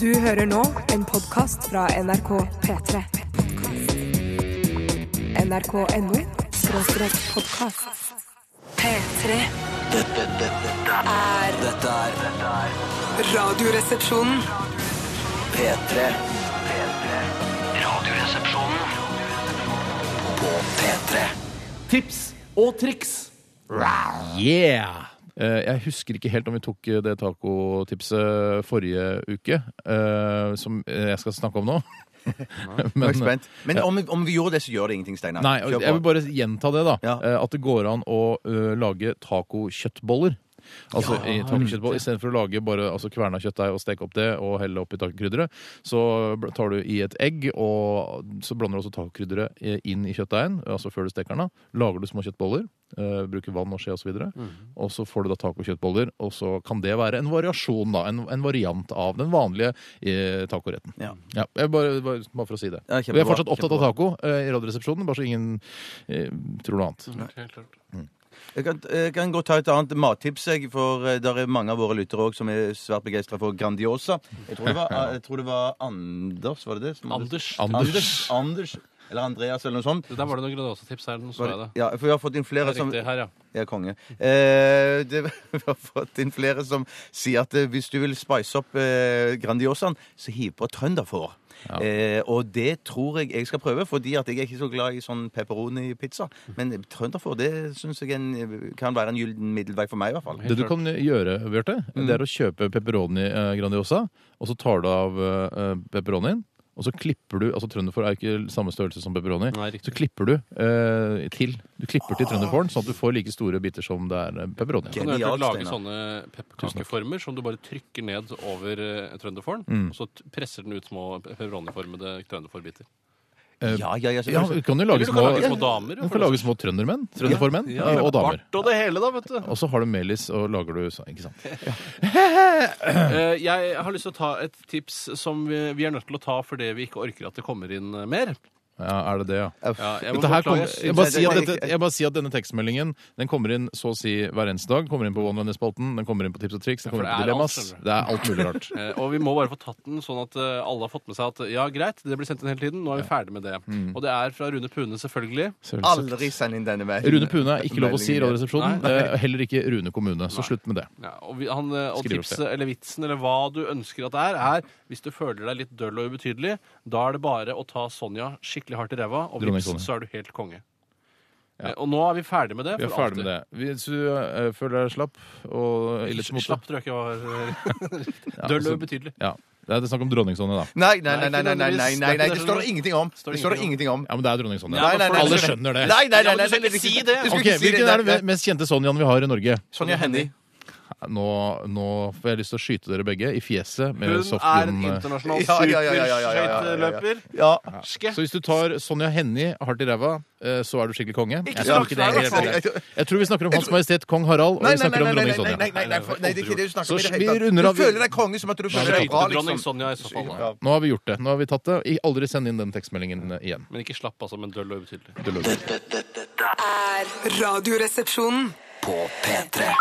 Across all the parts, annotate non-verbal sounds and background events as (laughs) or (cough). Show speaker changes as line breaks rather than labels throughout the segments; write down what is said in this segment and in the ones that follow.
Du hører nå en podkast fra NRK P3. NRK.no skråstrek podkast. P3
Dette, dette, dette,
er
dette er dette er
Radioresepsjonen.
P3. P3. Radioresepsjonen på P3.
Tips og triks. Yeah! Eh, Jeg husker ikke helt om vi tok eh, det tacotipset forrige uke, eh, som eh, jeg skal snakke om nå. (laughs)
Nå er jeg spent. Men om, om vi gjorde det, så gjør det ingenting, Steinar.
Nei,
Kjør på.
jeg vil bare gjenta det, da.
Ja.
eh, At det går an å eh, lage tacokjøttboller. Altså i tacokjøttboller Istedenfor å lage bare altså, kverna kjøttdeig og steke opp det og helle oppi tacokrydderet, så bl- tar du i et egg, og så blander du også tacokrydderet eh, inn i kjøttdeigen, altså før du steker den. da Lager du små kjøttboller, eh, bruker vann og skje osv., og, så videre,
Mm.
og så får du da tacokjøttboller, og så kan det være en variasjon, da. En, en variant av den vanlige eh, tacoretten.
Ja.
Ja, jeg bare, bare, bare for å si det. Vi
Ja,
er
kjempebra,
fortsatt opptatt av taco eh, i Radioresepsjonen, bare så ingen eh, tror noe annet.
Jeg kan, jeg kan godt ta et annet mattips, jeg, for det er mange av våre lyttere også som er svært begeistra for Grandiosa. Jeg tror, det
(laughs)
var, eh, jeg tror det var Anders, var det det? som hadde-
Anders.
Anders.
Anders eller Andreas eller noe sånt.
Der var det noen Grandiosa-tips her. Nå så jeg det.
Ja, for vi har fått inn flere
Det er
som
riktig her, ja.
Ja, konge. Eh, det, (laughs) vi har fått inn flere som sier at eh, hvis du vil spice opp eh, Grandiosaen, så hiv på trønderfår. Eh, og det tror jeg jeg skal prøve, fordi at jeg er ikke så glad i sånn pepperoni-pizza. Men trønderfår det syns jeg en, kan være en gyllen middelvei for meg, i hvert fall.
Det du kan gjøre, Bjarte, det er å kjøpe pepperoni eh, Grandiosa, og så tar du av eh, pepperonien. Og så klipper du altså Trønderfår er jo ikke samme størrelse som pepperoni.
Nei, riktig.
Så klipper du eh, til Du klipper til trønderfåren, sånn at du får like store biter som det er eh, pepperoni.
Genialt,
Du har hørt lage
Steinar.
sånne pepperkakeformer som du bare trykker ned over eh, trønderfåren, og så t- presser den ut små pepperoniformede trønderfårbiter.
Ja, ja, ja,
Eh, Ja,
selvfølgelig.
du kan jo lage
Eller du
små,
kan lage små damer,
Du
for
kan
det
lage små trøndermenn. Trønderformenn eh, og damer.
Bart og det hele, da, vet du.
Og så har du melis, og lager du sånn. Ikke sant?
Eh, Jeg har lyst til å ta et tips som vi vi er nødt til å ta fordi vi ikke orker at det kommer inn eh, mer.
Ja, er det det, ja?
Ja, jeg må
Dette her kom,
beklage.
jeg, bare sier at
det-
dette, jeg bare sier at denne tekstmeldingen Den kommer inn så å si hver eneste dag. Kommer inn på OneLiner-spalten, den kommer inn på Tips og triks, den
Ja, for
kommer inn på
det er
Dilemmas.
alt, skjønner du.
Det er alt mulig rart.
(laughs) Eh, Og vi må bare få tatt den, sånn at eh, alle har fått med seg at ja, greit, det blir sendt inn hele tiden. Nå er vi ferdig med det. Og det er fra Rune Pune, selvfølgelig.
Aldri send inn denne mailen.
Rune Pune er ikke lov å si i Radioresepsjonen.
Nei.
eh, Heller ikke Rune kommune. Så slutt med det.
Ja, og vi, han, eh, og
Skriver opp
tipset eller vitsen eller hva du ønsker at det er, er hvis du føler deg litt døll og ubetydelig, da er det bare å ta Sonja skikkelig hardt i ræva, og
Dronning
vips,
Sonja.
så er du helt konge. Eh, Og nå er vi ferdig med det.
Vi er
for
ferdig med det.
alltid.
Hvis du eh, føler deg slapp og ille til mote
Slapp, tror jeg ikke var (laughs)
ja,
Døll og
altså,
ubetydelig.
ja. Det er snakk om dronning Sonja, da.
Nei, nei, nei, nei, nei, nei, nei, nei, nei,
Det
det står det ingenting om.
Står
Det står det ingenting om.
Ja, Men det er dronning Sonja.
Nei, nei, nei,
Alle
nei.
skjønner det.
Nei, nei, nei,
Ja, men
nei,
du skal
nei,
ikke
nei,
si det.
Du skal
Ok,
ikke si
Hvilken er
det.
den mest kjente Sonjaen vi har i Norge?
Sonja Hennie.
Nå, nå får jeg lyst til å skyte dere begge i fjeset med
Hun er
softgun. eh,
internasjonal
Ja, ja, ja, ja, ja, ja, ja, ja, ja, ja.
superskøyteløper.
Ja.
Ske.
Så hvis du tar Sonja Hennie hardt i ræva, eh, så er du skikkelig konge? Jeg tror,
snakk
ikke det er
snakk
helt greit. jeg tror vi snakker om Hans Majestet Kong Harald, og
Nei,
vi
nei,
snakker
nei,
om
nei,
dronning
nei, nei,
Sonja.
nei, nei, nei, for- nei, det er ikke det du snakker
Så
om i det hele
vi
tatt.
runder av-
Du føler deg konge som at du føler deg bra,
Skøytedronning
liksom.
Sonja i så fall. da.
Ja.
Nå har vi gjort det. Nå har vi tatt det. I- Aldri send inn den tekstmeldingen eh, igjen.
Men ikke slapp, altså, men døll og ubetydelig.
Det løser vi.
Dette, dette, dette er
Radioresepsjonen.
på P3.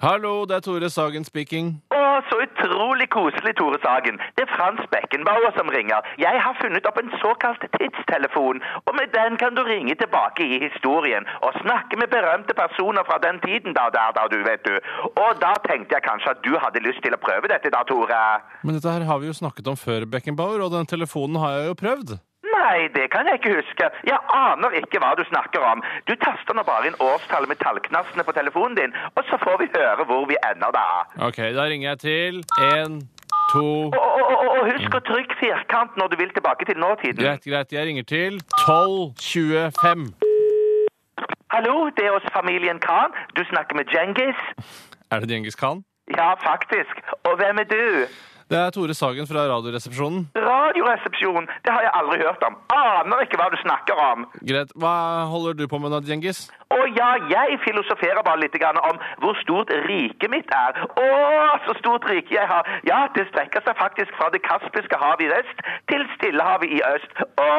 Hallo, det er Tore Sagen speaking.
Å, så utrolig koselig, Tore Sagen. Det er Frans Beckenbauer som ringer. Jeg har funnet opp en såkalt tidstelefon, og med den kan du ringe tilbake i historien og snakke med berømte personer fra den tiden da, der, da, du vet du. Og da tenkte jeg kanskje at du hadde lyst til å prøve dette da, Tore.
Men dette her har vi jo snakket om før, Beckenbauer, og den telefonen har jeg jo prøvd.
Nei, det kan jeg ikke huske. Jeg aner ikke hva du snakker om. Du taster nå bare inn årstallet med tallknastene på telefonen din, og så får vi høre hvor vi ender da.
Ok, da ringer jeg til. En, to
Og, og, og, og husk å trykke firkant når du vil tilbake til nåtiden.
Greit, greit. Jeg ringer til 1225.
Hallo, det er hos familien Khan. Du snakker med Djengis?
Er det Djengis Khan?
Ja, faktisk. Og hvem er du?
Det er Tore Sagen fra Radioresepsjonen.
Radioresepsjon, det har jeg aldri hørt om. Aner ikke hva du snakker om.
Greit. Hva holder du på med nå, Djengis?
Å ja, jeg filosoferer bare litt grann om hvor stort riket mitt er. Å, så stort rike jeg har. Ja, det strekker seg faktisk fra det kaspiske havet i vest til Stillehavet i øst. Å,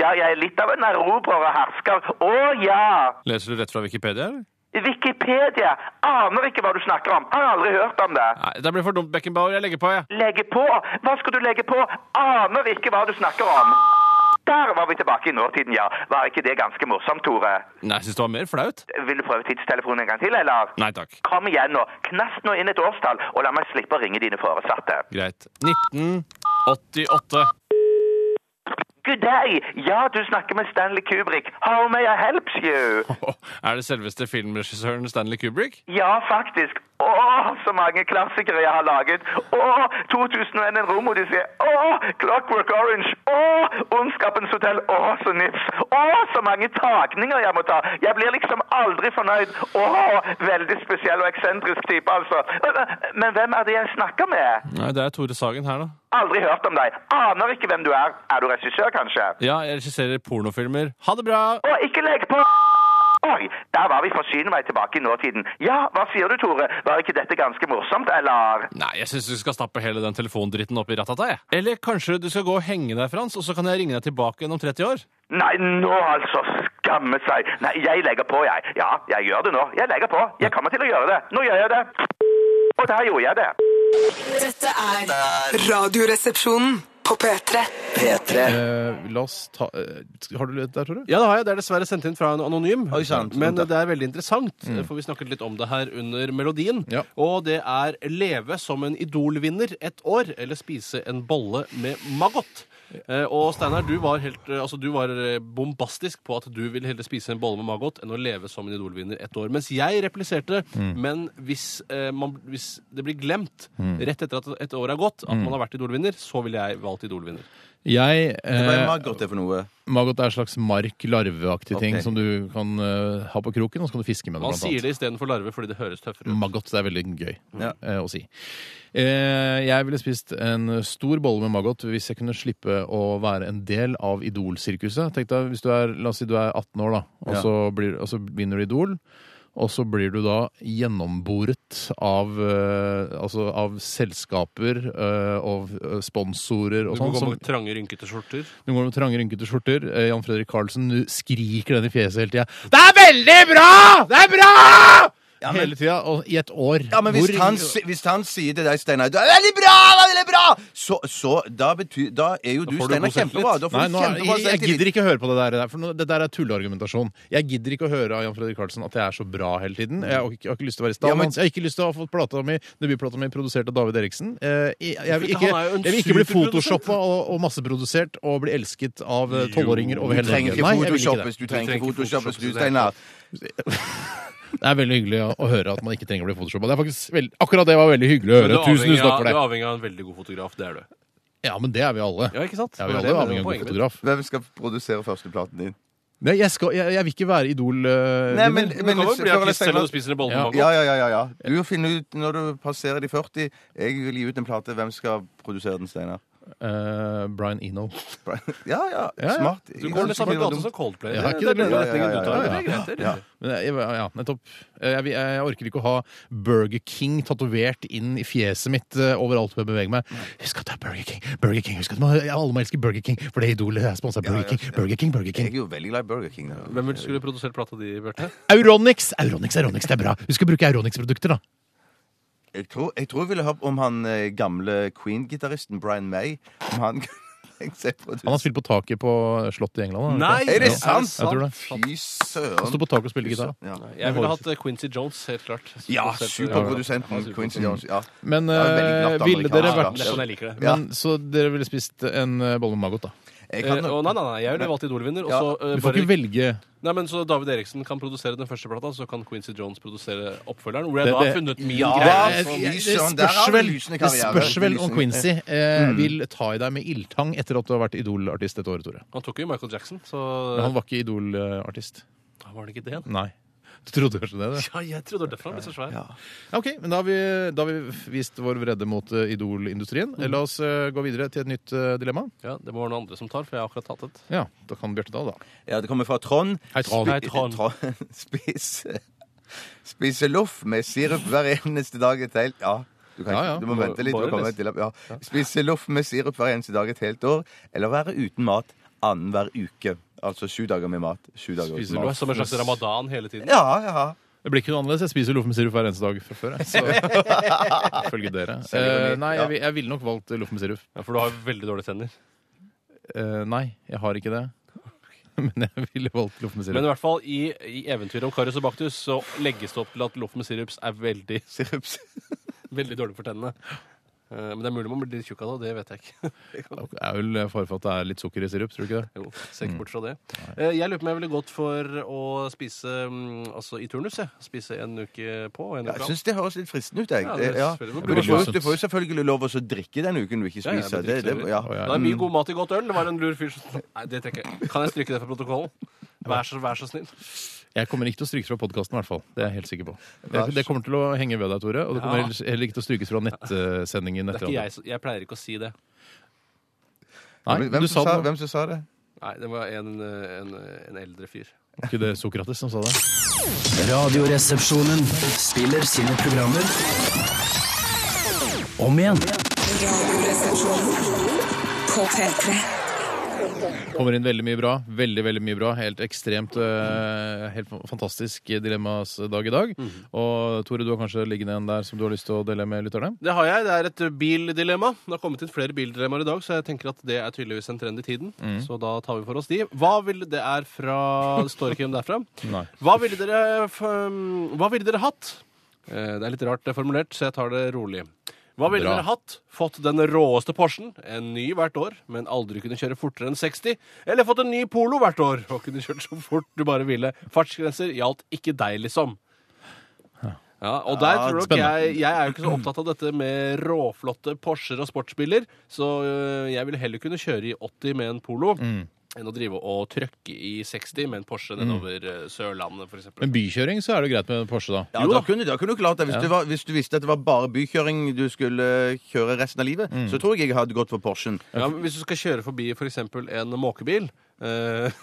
ja, jeg er litt av en erobrer og hersker. Å ja.
Leser du rett fra Wikipedia, eller?
Wikipedia aner ikke hva du snakker om. Har aldri hørt om det.
Nei, det blir for dumt, Beckenbauer. Jeg legger på, jeg.
Legge på? Hva skal du legge på? Aner ikke hva du snakker om. Der var vi tilbake i nåtiden, ja. Var ikke det ganske morsomt, Tore?
Nei, jeg syns det var mer flaut.
Vil du prøve tidstelefonen en gang til, eller?
Nei takk.
Kom igjen nå. Knast nå inn et årstall, og la meg slippe å ringe dine foresatte.
Greit. 1988.
Good day! Ja, du snakker med Stanley Kubrick. How may I help you?
(laughs) Er det selveste filmregissøren Stanley Kubrick?
Ja, faktisk. Åh, så mange klassikere jeg har laget. Åh, 2001 en romodyssé. Åh, Clockwork Orange. Åh, Ondskapens hotell. Åh, så nips. Åh, så mange tagninger jeg må ta. Jeg blir liksom aldri fornøyd. Åh, veldig spesiell og eksentrisk type, altså. Men hvem er det jeg snakker med?
Nei, det er Tore Sagen her, da.
Aldri hørt om deg. Aner ikke hvem du er. Er du regissør, kanskje?
Ja, jeg regisserer pornofilmer. Ha det bra!
Å, ikke legg på! Oi, der var vi forsyne meg tilbake i nåtiden. Ja, hva sier du, Tore? Var ikke dette ganske morsomt, eller?
Nei, jeg syns du skal stappe hele den telefondritten opp i ratata, jeg. Eller kanskje du skal gå og henge deg, Frans, og så kan jeg ringe deg tilbake igjen om 30 år?
Nei, nå altså, skamme seg! Nei, jeg legger på, jeg. Ja, jeg gjør det nå. Jeg legger på. Jeg kommer til å gjøre det. Nå gjør jeg det. Og der gjorde jeg det.
Dette er Radioresepsjonen på P3.
P3
Eh, la oss ta eh, Har du det der, Tore?
Ja, det har jeg. Det er dessverre sendt inn fra en anonym.
Oi, sant.
Men det er veldig interessant, eh, for vi snakket litt om det her under melodien.
Mm. Ja.
Og det er 'Leve som en Idol-vinner ett år' eller 'Spise en bolle med maggot'. Eh, og Steinar, du var, helt, eh, altså, du var eh, bombastisk på at du ville heller spise en bolle med maggot enn å leve som en Idol-vinner ett år. Mens jeg repliserte,
Mm.
men hvis, eh, man, hvis det blir glemt
Mm.
rett etter at et år er gått, at man har vært Idol-vinner, så ville jeg valgt Idol-vinner.
Jeg
Hva
eh,
er maggot det for noe?
Maggot er en slags mark-larveaktig ting
Ok.
som du kan eh, ha på kroken, og så kan du fiske med det.
Man
blant annet.
sier det istedenfor larve fordi det høres tøffere ut.
Maggot det er veldig gøy
Ja.
eh, å si. Eh, jeg ville spist en stor bolle med maggot hvis jeg kunne slippe å være en del av Idol-sirkuset. Tenk deg, hvis du er, La oss si du er 18 år, da, og,
Ja.
så, blir, og så vinner du Idol. Og så blir du da gjennomboret av, eh, altså av selskaper eh, og eh, sponsorer og
Du må
sånn.
gå
som-
med trange, rynkete skjorter.
Du går med trange, rynkete skjorter. Eh, Jan Fredrik Karlsen nu- skriker den i fjeset hele tida. Det er veldig bra! Det er bra!
men-
Hele tida, og i et år.
Ja, men hvis
Hvor-
han, si- hvis han sier til deg, Steinar, du er veldig bra, du er veldig bra, så, så da, betyr, da er jo du,
får du
Steinar,
god selvtillit.
kjempebra. Da får
Nei,
du
nå,
kjempebra
jeg, jeg
selvtillit.
gidder ikke å høre på det der, der, for nå, det der er tulleargumentasjon. Jeg gidder ikke å høre av Jan Fredrik Karlsen at jeg er så bra hele tiden. Jeg har ikke, jeg har ikke lyst til å være i
Ja,
stand
men-
hans. Jeg har ikke lyst til å ha fått plata mi, debutplata mi produsert av David Eriksen. Eh, Jeg, jeg, vil,
Fordi
ikke,
han er jo en
jeg vil ikke bli
superprodusent.
photoshoppa og, og masseprodusert og bli elsket av eh, tolvåringer over
Du
hele
trenger
Norge.
ikke
Nei, jeg vil ikke det.
photoshoppes, du trenger ikke photoshoppes, du,
photoshoppes,
Steinar.
Det er veldig hyggelig å, å høre at man ikke trenger å bli photoshoppa. Det er faktisk veld, akkurat det var veldig hyggelig å
Men
høre.
du
Tusen
er avhengig
tusen
av-
takk for
Du er
det.
avhengig av en veldig god fotograf, det er du.
Ja, men det er vi alle.
Ja, ikke sant?
Ja, vi
Det
alle
det
er avhengig av
som
en
poenget
god
mitt.
fotograf.
Hvem skal produsere førsteplaten din?
Nei, jeg, skal, jeg, jeg vil ikke være idol. eh,
Nei,
vinner.
men,
Du
men
kan jo bli
før eller
artist selv om
senere-
du spiser en bolle
Ja.
med
ja,
maggot.
ja, ja, ja, ja. Du finner ut når du passerer de 40. Jeg vil gi ut en plate. Hvem skal produsere den, Steinar?
Eh, Brian Eno.
(laughs) Ja, ja,
ja.
smart.
Du går litt samme gate som Coldplay.
Ja,
Det
ikke
det er
det
den
bra?
Ja,
retningen du
ja,
tar.
ja,
Det er greit, det er riktig.
Men jeg, ja, nettopp. Eh, Jeg, vil- jeg orker ikke å ha Burger King tatovert inn i fjeset mitt eh, overalt hvor jeg beveger meg. Husk at det er Burger King! Burger King, husk at man, ja, Alle må elske Burger King, for det idolet er sponsa Burger King! Burger King, Burger
Jeg
King.
er jo veldig glad i Burger King. da.
Hvem ville skulle produsert plata di, Bjarte?
Euronics! Euronics, Euronics, det er bra! Husk å bruke Euronics-produkter, da.
Jeg tror jeg, tror jeg ville hørt om han eh, gamle Queen-gitaristen Brian May. Om han (laughs) Jeg ser på det.
Han har spilt på taket på Slottet i England. da, vet du.
Er det
Ja,
sant?
Jeg tror det.
Fy
Han sto
søren.
på taket og spilte gitar.
Ja,
Jeg ville hatt eh, Quincy Jones, helt klart.
ja
Produsert- Ja,
superprodusenten
superprodusent.
Quincy Jones. Ja.
Men
Ja, veldig
eh,
glatt
ville dere
amerikaner,
Det er
vært
sånn jeg liker det.
Ja.
men, Så dere ville spist en eh, bolle med maggot, da?
Jeg
Eh,
kan
og
nok
nei, nei, nei, jeg ville valgt Idol-vinner. Og så, eh,
Du får
bare-
ikke velge
Nei, men så David Eriksen kan produsere den første plata, så kan Quincy Jones produsere oppfølgeren. Hvor jeg
Det-
da har
det-
funnet min
Ja, fy
greie. som-
Eh, Det
søren, der
spørs
har du
vel,
lysende
det
karriere.
spørs vel om
Lysende.
Quincy
Mm.
eh, vil ta i deg med ildtang etter at du har vært Idol-artist et år, Tore.
Han tok jo Michael Jackson, så
Men han var ikke Idol-artist.
var det ikke det? han?
Nei. Du trodde kanskje det? det?
Ja, jeg trodde det var derfor han ble så svær.
Ok, men Da har vi, da har vi vist vår vrede mot eh, Idol-industrien.
Mm.
La oss eh, gå videre til et nytt eh, dilemma.
Ja, Det må være noen andre som tar, for jeg har akkurat tatt et.
Ja, Da kan Bjarte ta, det, da.
Ja, det kommer fra Trond.
Hei, Trond.
Spi-
Hei, Trond.
(laughs) Spise, spise loff med sirup hver eneste dag et helt Ja. Du, kan,
Ja,
ikke-
ja.
du må
Må-
vente litt.
bare
til å komme
lese.
til, ja. Spise loff med sirup hver eneste dag et helt år, eller være uten mat annenhver uke. Altså sju dager med mat. Sju dager
Spise
uten mat.
loff.
Som en slags ramadan hele tiden.
Ja, ja.
Det blir ikke noe annerledes. Jeg spiser loff med sirup hver eneste dag fra før. jeg. Så ifølge dere. Eh, nei, jeg, vil- jeg ville nok valgt loff med sirup.
Ja, for du har jo veldig dårlige tenner.
Eh, nei, jeg har ikke det. (laughs) Men jeg ville valgt loff med
Men i
sirup.
hvert fall i, i eventyret om Karius og Baktus så legges det opp til at loff med sirups er veldig, (laughs)
Sirups.
veldig dårlig for tennene. Eh, Men det er mulig man blir litt tjukk av det, det vet jeg ikke. (laughs)
Det er vel fare for at det er litt sukker i sirup, tror du ikke det?
Jo, ser
Mm.
ikke bort fra det. Eh, Jeg lurer på om jeg ville gått for å spise mm, altså i turnus. Jeg. Spise en uke på og en
Ja,
uke
jeg
av.
syns det høres litt fristende ut. Jeg.
Ja, det
Det- Ja,
høres veldig
Du, får,
bra ut.
jo- du får jo selvfølgelig lov å så drikke den uken du ikke
Ja, ja,
spiser.
det
det, det,
drikker
ja.
vi. Å, ja.
Det er mye god mat i godt øl. Det var en lur fyr som Nei, det trekker jeg. Kan jeg stryke det fra protokollen? Vær så, vær så snill.
Jeg kommer ikke til å stryke fra podkasten, i hvert fall. Det er jeg helt sikker på. Det, det kommer til å henge ved deg, Tore. Og det kommer
Ja.
heller- heller ikke til å strykes fra nettsendingen.
Det er ikke jeg, som- jeg pleier ikke å si det.
Nei,
Hvem,
du
som
sa
sa,
det.
hvem som sa det?
Nei, det var en, eh, en, eh, en eldre fyr.
Var Ikke det Sokrates som sa det?
Radioresepsjonen spiller sine programmer om igjen.
Radioresepsjonen på P3.
Kommer inn veldig mye bra. Veldig, veldig mye bra. Helt ekstremt eh, Helt fantastisk dilemmas dag i dag.
Mhm.
Og Tore, du har kanskje liggende en der som du har lyst til å dele med lytterne?
Det har jeg. Det er et bildilemma. Det har kommet inn flere bildilemmaer i dag, så jeg tenker at det er tydeligvis en trend i tiden.
Mm.
Så da tar vi for oss de. Hva vil Det er fra Det står ikke hvem det er fra.
(laughs) Nei.
Hva ville dere, f- hva ville dere hatt? Eh, Det er litt rart det er formulert, så jeg tar det rolig. Hva ville
Bra.
dere hatt? Fått den råeste Porschen, en ny hvert år, men aldri kunne kjøre fortere enn 60? Eller fått en ny Polo hvert år og kunne kjørt så fort du bare ville? Fartsgrenser gjaldt ikke deg, liksom. Ja, og der tror nok
spennende.
jeg, jeg er jo ikke så opptatt av dette med råflotte Porscher og sportsbiler, så øh, jeg vil heller kunne kjøre i 80 med en Polo
Mm.
enn å drive og trøkke i 60 med en Porsche nedover øh, Sørlandet, for eksempel.
Men bykjøring så er det jo greit med Porsche, da.
Ja,
Jo
da
da.
kunne, da kunne du klart det. Hvis, du var, hvis du visste at det var bare bykjøring du skulle kjøre resten av livet,
Mm.
så tror jeg jeg hadde gått for Porschen.
Ja, men hvis du skal kjøre forbi for eksempel en måkebil øh, (laughs)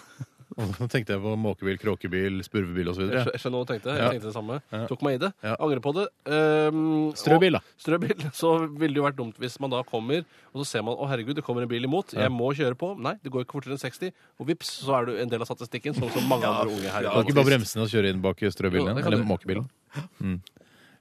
Nå tenkte jeg på måkebil, kråkebil, spurvebil osv.
Jeg skjø- jeg skjønner hva du tenkte. Jeg
Ja.
tenkte det samme. Tok meg i det.
Ja.
Angrer på det. Ehm,
Strøbil, da.
og- Strøbil. (laughs) Så ville det jo vært dumt hvis man da kommer, og så ser man å herregud, det kommer en bil imot. Jeg må kjøre på. Nei, det går ikke fortere enn 60. Og vips, så er du en del av statistikken, sånn som mange andre unge her. i
Kan
landet.
du ikke bare bremse ned og kjøre inn bak strøbilen?
Jo,
igjen?
det kan
Eller
du.
måkebilen? Mm.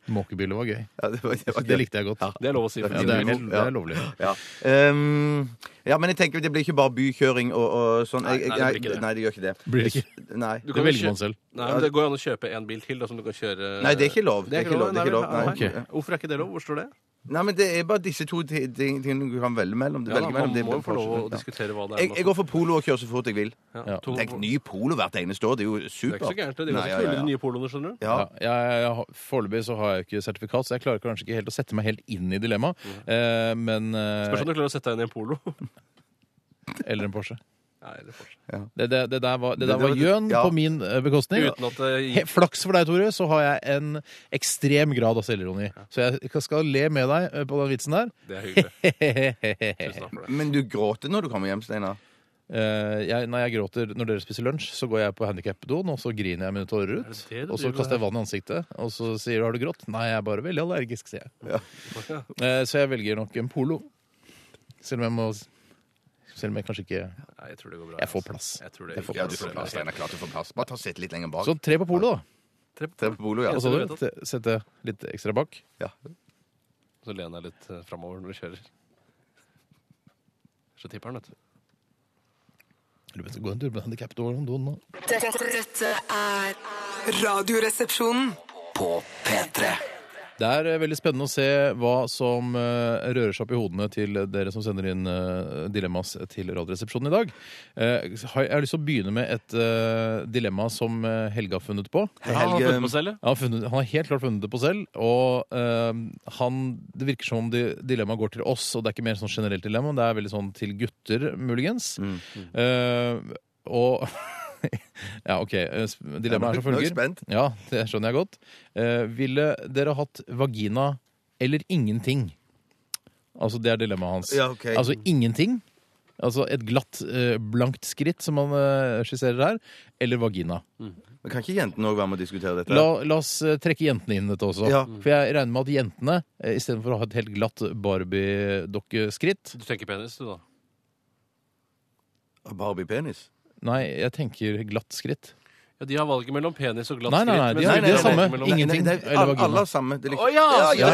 Måkebiler var gøy.
Ja, det, var, det, var
Det likte jeg godt.
det er lov å si. for
Ja,
tiden.
det er, helt, det
Ja.
er lovlig.
Ja. Ehm, ja, men jeg tenker det blir ikke bare bykjøring og, og sånn. Jeg, jeg,
Nei, nei, det blir ikke det.
nei, det gjør ikke det.
Blir det ikke?
Nei.
Du
Det
kan jo
velger man
kjø-
selv.
Nei, men Det går jo an å kjøpe en bil til da, som du kan kjøre
Nei, det er ikke lov.
Det er ikke lov.
det er ikke lov.
Nei,
Nei.
nei. Hvorfor er ikke det lov? Hvor står det?
Nei, men det er bare disse to ti- ting, tingene du kan velge mellom. Du
Ja, da,
velger
man
mellom
må
det
jo
og
få lov å
Porschen. Ja.
diskutere hva det er.
Jeg, jeg går for polo og kjører så fort jeg vil.
ja. to-
Tenk ny polo hvert eneste år. Det er jo
Det er
supert.
ikke så gærent. Det er
Nei,
ganske
ja, ja,
kule de
ja.
nye poloene, skjønner du.
Ja.
Ja, jeg, jeg, har- Foreløpig så har jeg ikke sertifikat, så jeg klarer kanskje ikke helt å sette meg helt inn i dilemmaet. Eh, men eh,
Mm. Spørs om du klarer å sette deg inn i en polo.
Eller en Porsche.
Nei, det er forskjell.
Det, det, det der var, det
Det-
der
det
var
var-
gjøn
ja.
på min eh, bekostning.
Uten at det
He- Flaks for deg, Tore, så har jeg en ekstrem grad av selvironi. Så jeg skal le med deg eh, på den vitsen der.
Det er hyggelig. Tusen takk
(laughs)
for det.
Men du gråter når du kommer hjem, Steinar.
Eh, jeg, når jeg gråter når dere spiser lunsj, så går jeg på handikapdoen og så griner jeg mine tårer ut.
det det du
Og så
driver
kaster jeg
med?
vann i ansiktet, og så sier du 'har du grått'? Nei, jeg er bare veldig allergisk, sier jeg. Eh, så jeg velger nok en polo. Selv om jeg må Selv om jeg kanskje ikke
Nei, jeg tror det går bra.
Jeg får
altså.
plass.
Jeg tror det
Jeg får
går bra.
plass.
Steinar, klart du får plass. Bare ta sitt litt lenger bak.
Så tre på polo, da.
Tre på polo, ja.
Og så t- sette litt ekstra bak.
ja.
Så lener jeg litt eh, framover når du kjører. Så tipper han, vet du.
Eller vet du, Gå en tur med handikapdoen om doen nå.
Dette, dette er Radioresepsjonen.
På P3.
Det er eh, veldig spennende å se hva som eh, rører seg opp i hodene til dere som sender inn eh, dilemmas til Radioresepsjonen i dag. Eh, har- jeg har lyst til å begynne med et eh, dilemma som eh, Helge har funnet på.
Ja, han har
eh,
Helge-
funnet på selv, ja.
Han har, funnet, han har helt klart funnet det på selv, og eh, han, det virker som om di- dilemmaet går til oss, og det er ikke mer sånn generelt dilemma, det er veldig sånn til gutter, muligens.
Mm,
Eh, og (laughs) Ja, OK. eh, s- Dilemmaet er som
Nå er
følger.
jeg spent.
Ja, det skjønner jeg godt. Eh, ville dere hatt vagina eller ingenting? Altså, det er dilemmaet hans.
Ja, ok.
Altså ingenting. Altså et glatt, eh, blankt skritt, som han eh, skisserer her. Eller vagina.
Men kan ikke jentene òg være med å diskutere dette?
La, la oss eh, trekke jentene inn i dette også.
Ja.
For jeg regner med at jentene, eh, istedenfor å ha et helt glatt Barbie-dokkeskritt
Du tenker penis, du, da.
Barbie-penis?
Nei, jeg tenker glatt skritt.
Ja, de har valget mellom penis og glatt
Nei,
skritt.
nei, nei, de
mens
har-
vi
det er
valget
samme.
mellom-
Ingen- Ingenting,
Nei, det er,
eller
alle,
vagina.
alle er samme. Det er
Å, ja,
ja, ja, ja, ja, ja,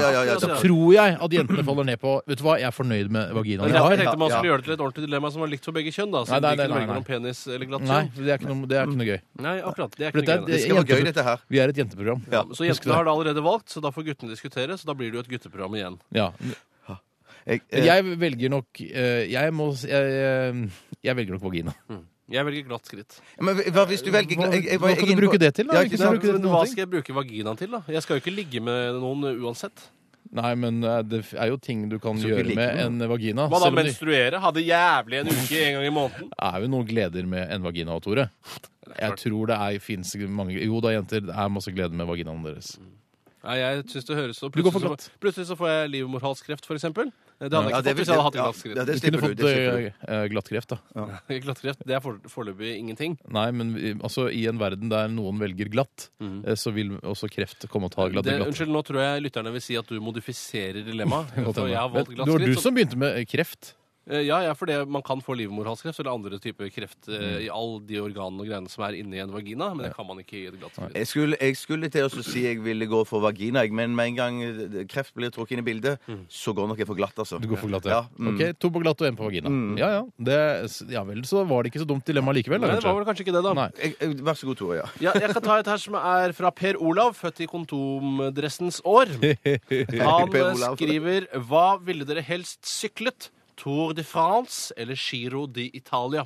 ja, ja,
Så
ja.
Tror jeg at jentene faller ned på Vet du hva, jeg er fornøyd med vaginaen jeg
Jeg
har.
tenkte man skulle
ja.
gjøre det til et ordentlig dilemma som var likt for begge kjønn. da,
Nei,
siden
nei, nei,
de kunne
nei,
velge
nei.
mellom penis eller glatt
Nei,
kjønn.
det er ikke noe, det er ikke noe gøy.
Nei, akkurat. Det er
For dette
ikke noe
er-
gøy.
Det skal være
jenteprogram.
gøy, dette her.
Vi er et jenteprogram.
Ja.
Så jentene har da allerede valgt, så da får guttene diskutere. Så da blir det jo et gutteprogram igjen.
Ja.
Jeg, eh,
Jeg velger nok eh, Jeg må s- jeg, eh, jeg velger nok vagina.
Jeg velger glatt skritt.
eh, men hva hvis du velger jeg, jeg, jeg,
Hva skal
jeg-
du bruke det til, da?
Ja,
Ikke
ikke
sant?
sant?
Bruke det til
Men
noen
hva
ting?
skal jeg bruke vaginaen til, da? Jeg skal jo ikke ligge med noen uh, uansett.
Nei, men eh, det f- er jo ting du kan
Så ikke
gjøre
ligge
med
med
en vagina.
Hva da,
Selv om det
menstruere? Ha det jævlig en uke en gang i måneden?
er jo noen gleder med en vagina, Tore. Jeg tror det er, finnes mange Jo da, jenter, det er masse glede med vaginaen deres.
Nei, jeg synes det høres så
Du går for
plutselig, så plutselig så får jeg livmorhalskreft, for eksempel. Det
Ja,
hadde jeg ikke
det
fått
vil-
hvis jeg hadde hatt
ja,
glatt skritt.
ja,
Du
det
kunne
slipper du.
fått
Det slipper du.
eh, glattkreft, da.
(laughs) Glattkreft, det er for- foreløpig ingenting.
Nei, men vi- altså, i en verden der noen velger glatt, eh, så vil også kreft komme og ta glatt.
Det,
glatt.
unnskyld, nå tror jeg lytterne vil si at du
(laughs)
modifiserer dilemmaet.
Godt
for
hende.
jeg har valgt
Men det
glatt
var
skritt.
du
så-
som begynte med kreft.
Eh, Ja, ja, for det, man kan få livmorhalskreft eller andre typer kreft eh,
Mm.
i alle de organene og greiene som er inni en vagina, men det kan man ikke i et glatt skritt.
Jeg skulle, jeg skulle til å så si jeg ville gå for vagina, jeg, men med en gang eh, kreft blir trukket inn i bildet, så går nok jeg for glatt, altså.
Mm. Du går for glatt, ja.
ja. mm.
Ok, To på glatt og én på vagina. Ja, ja. Det, ja vel, så var det ikke så dumt dilemma likevel, da,
Men det var
kanskje.
vel kanskje ikke det, da.
Nei.
Jeg, jeg, vær så god, Tore. Ja.
Ja, jeg kan ta et her som er fra Per Olav, født i kontomdressens
(laughs)
år. Han
Per
eh,
Olav.
skriver Hva ville dere helst syklet? Tour de France eller Giro di Italia?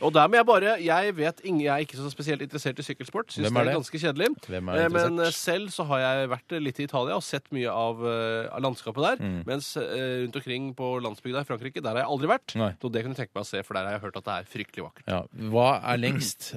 Og der må jeg bare Jeg vet ingen, jeg er ikke så spesielt interessert i sykkelsport. Synes
Hvem
det
er
er
det?
ganske kjedelig.
Hvem er
Eh,
interessert?
Men eh, selv så har jeg vært eh, litt i Italia og sett mye av, eh, av landskapet der.
Mm.
Mens eh, rundt omkring på landsbygda i Frankrike, der har jeg aldri vært.
Nei.
Så det kunne jeg tenke meg å se, for der har jeg hørt at det er fryktelig vakkert.
Ja. Hva er lengst? Eh,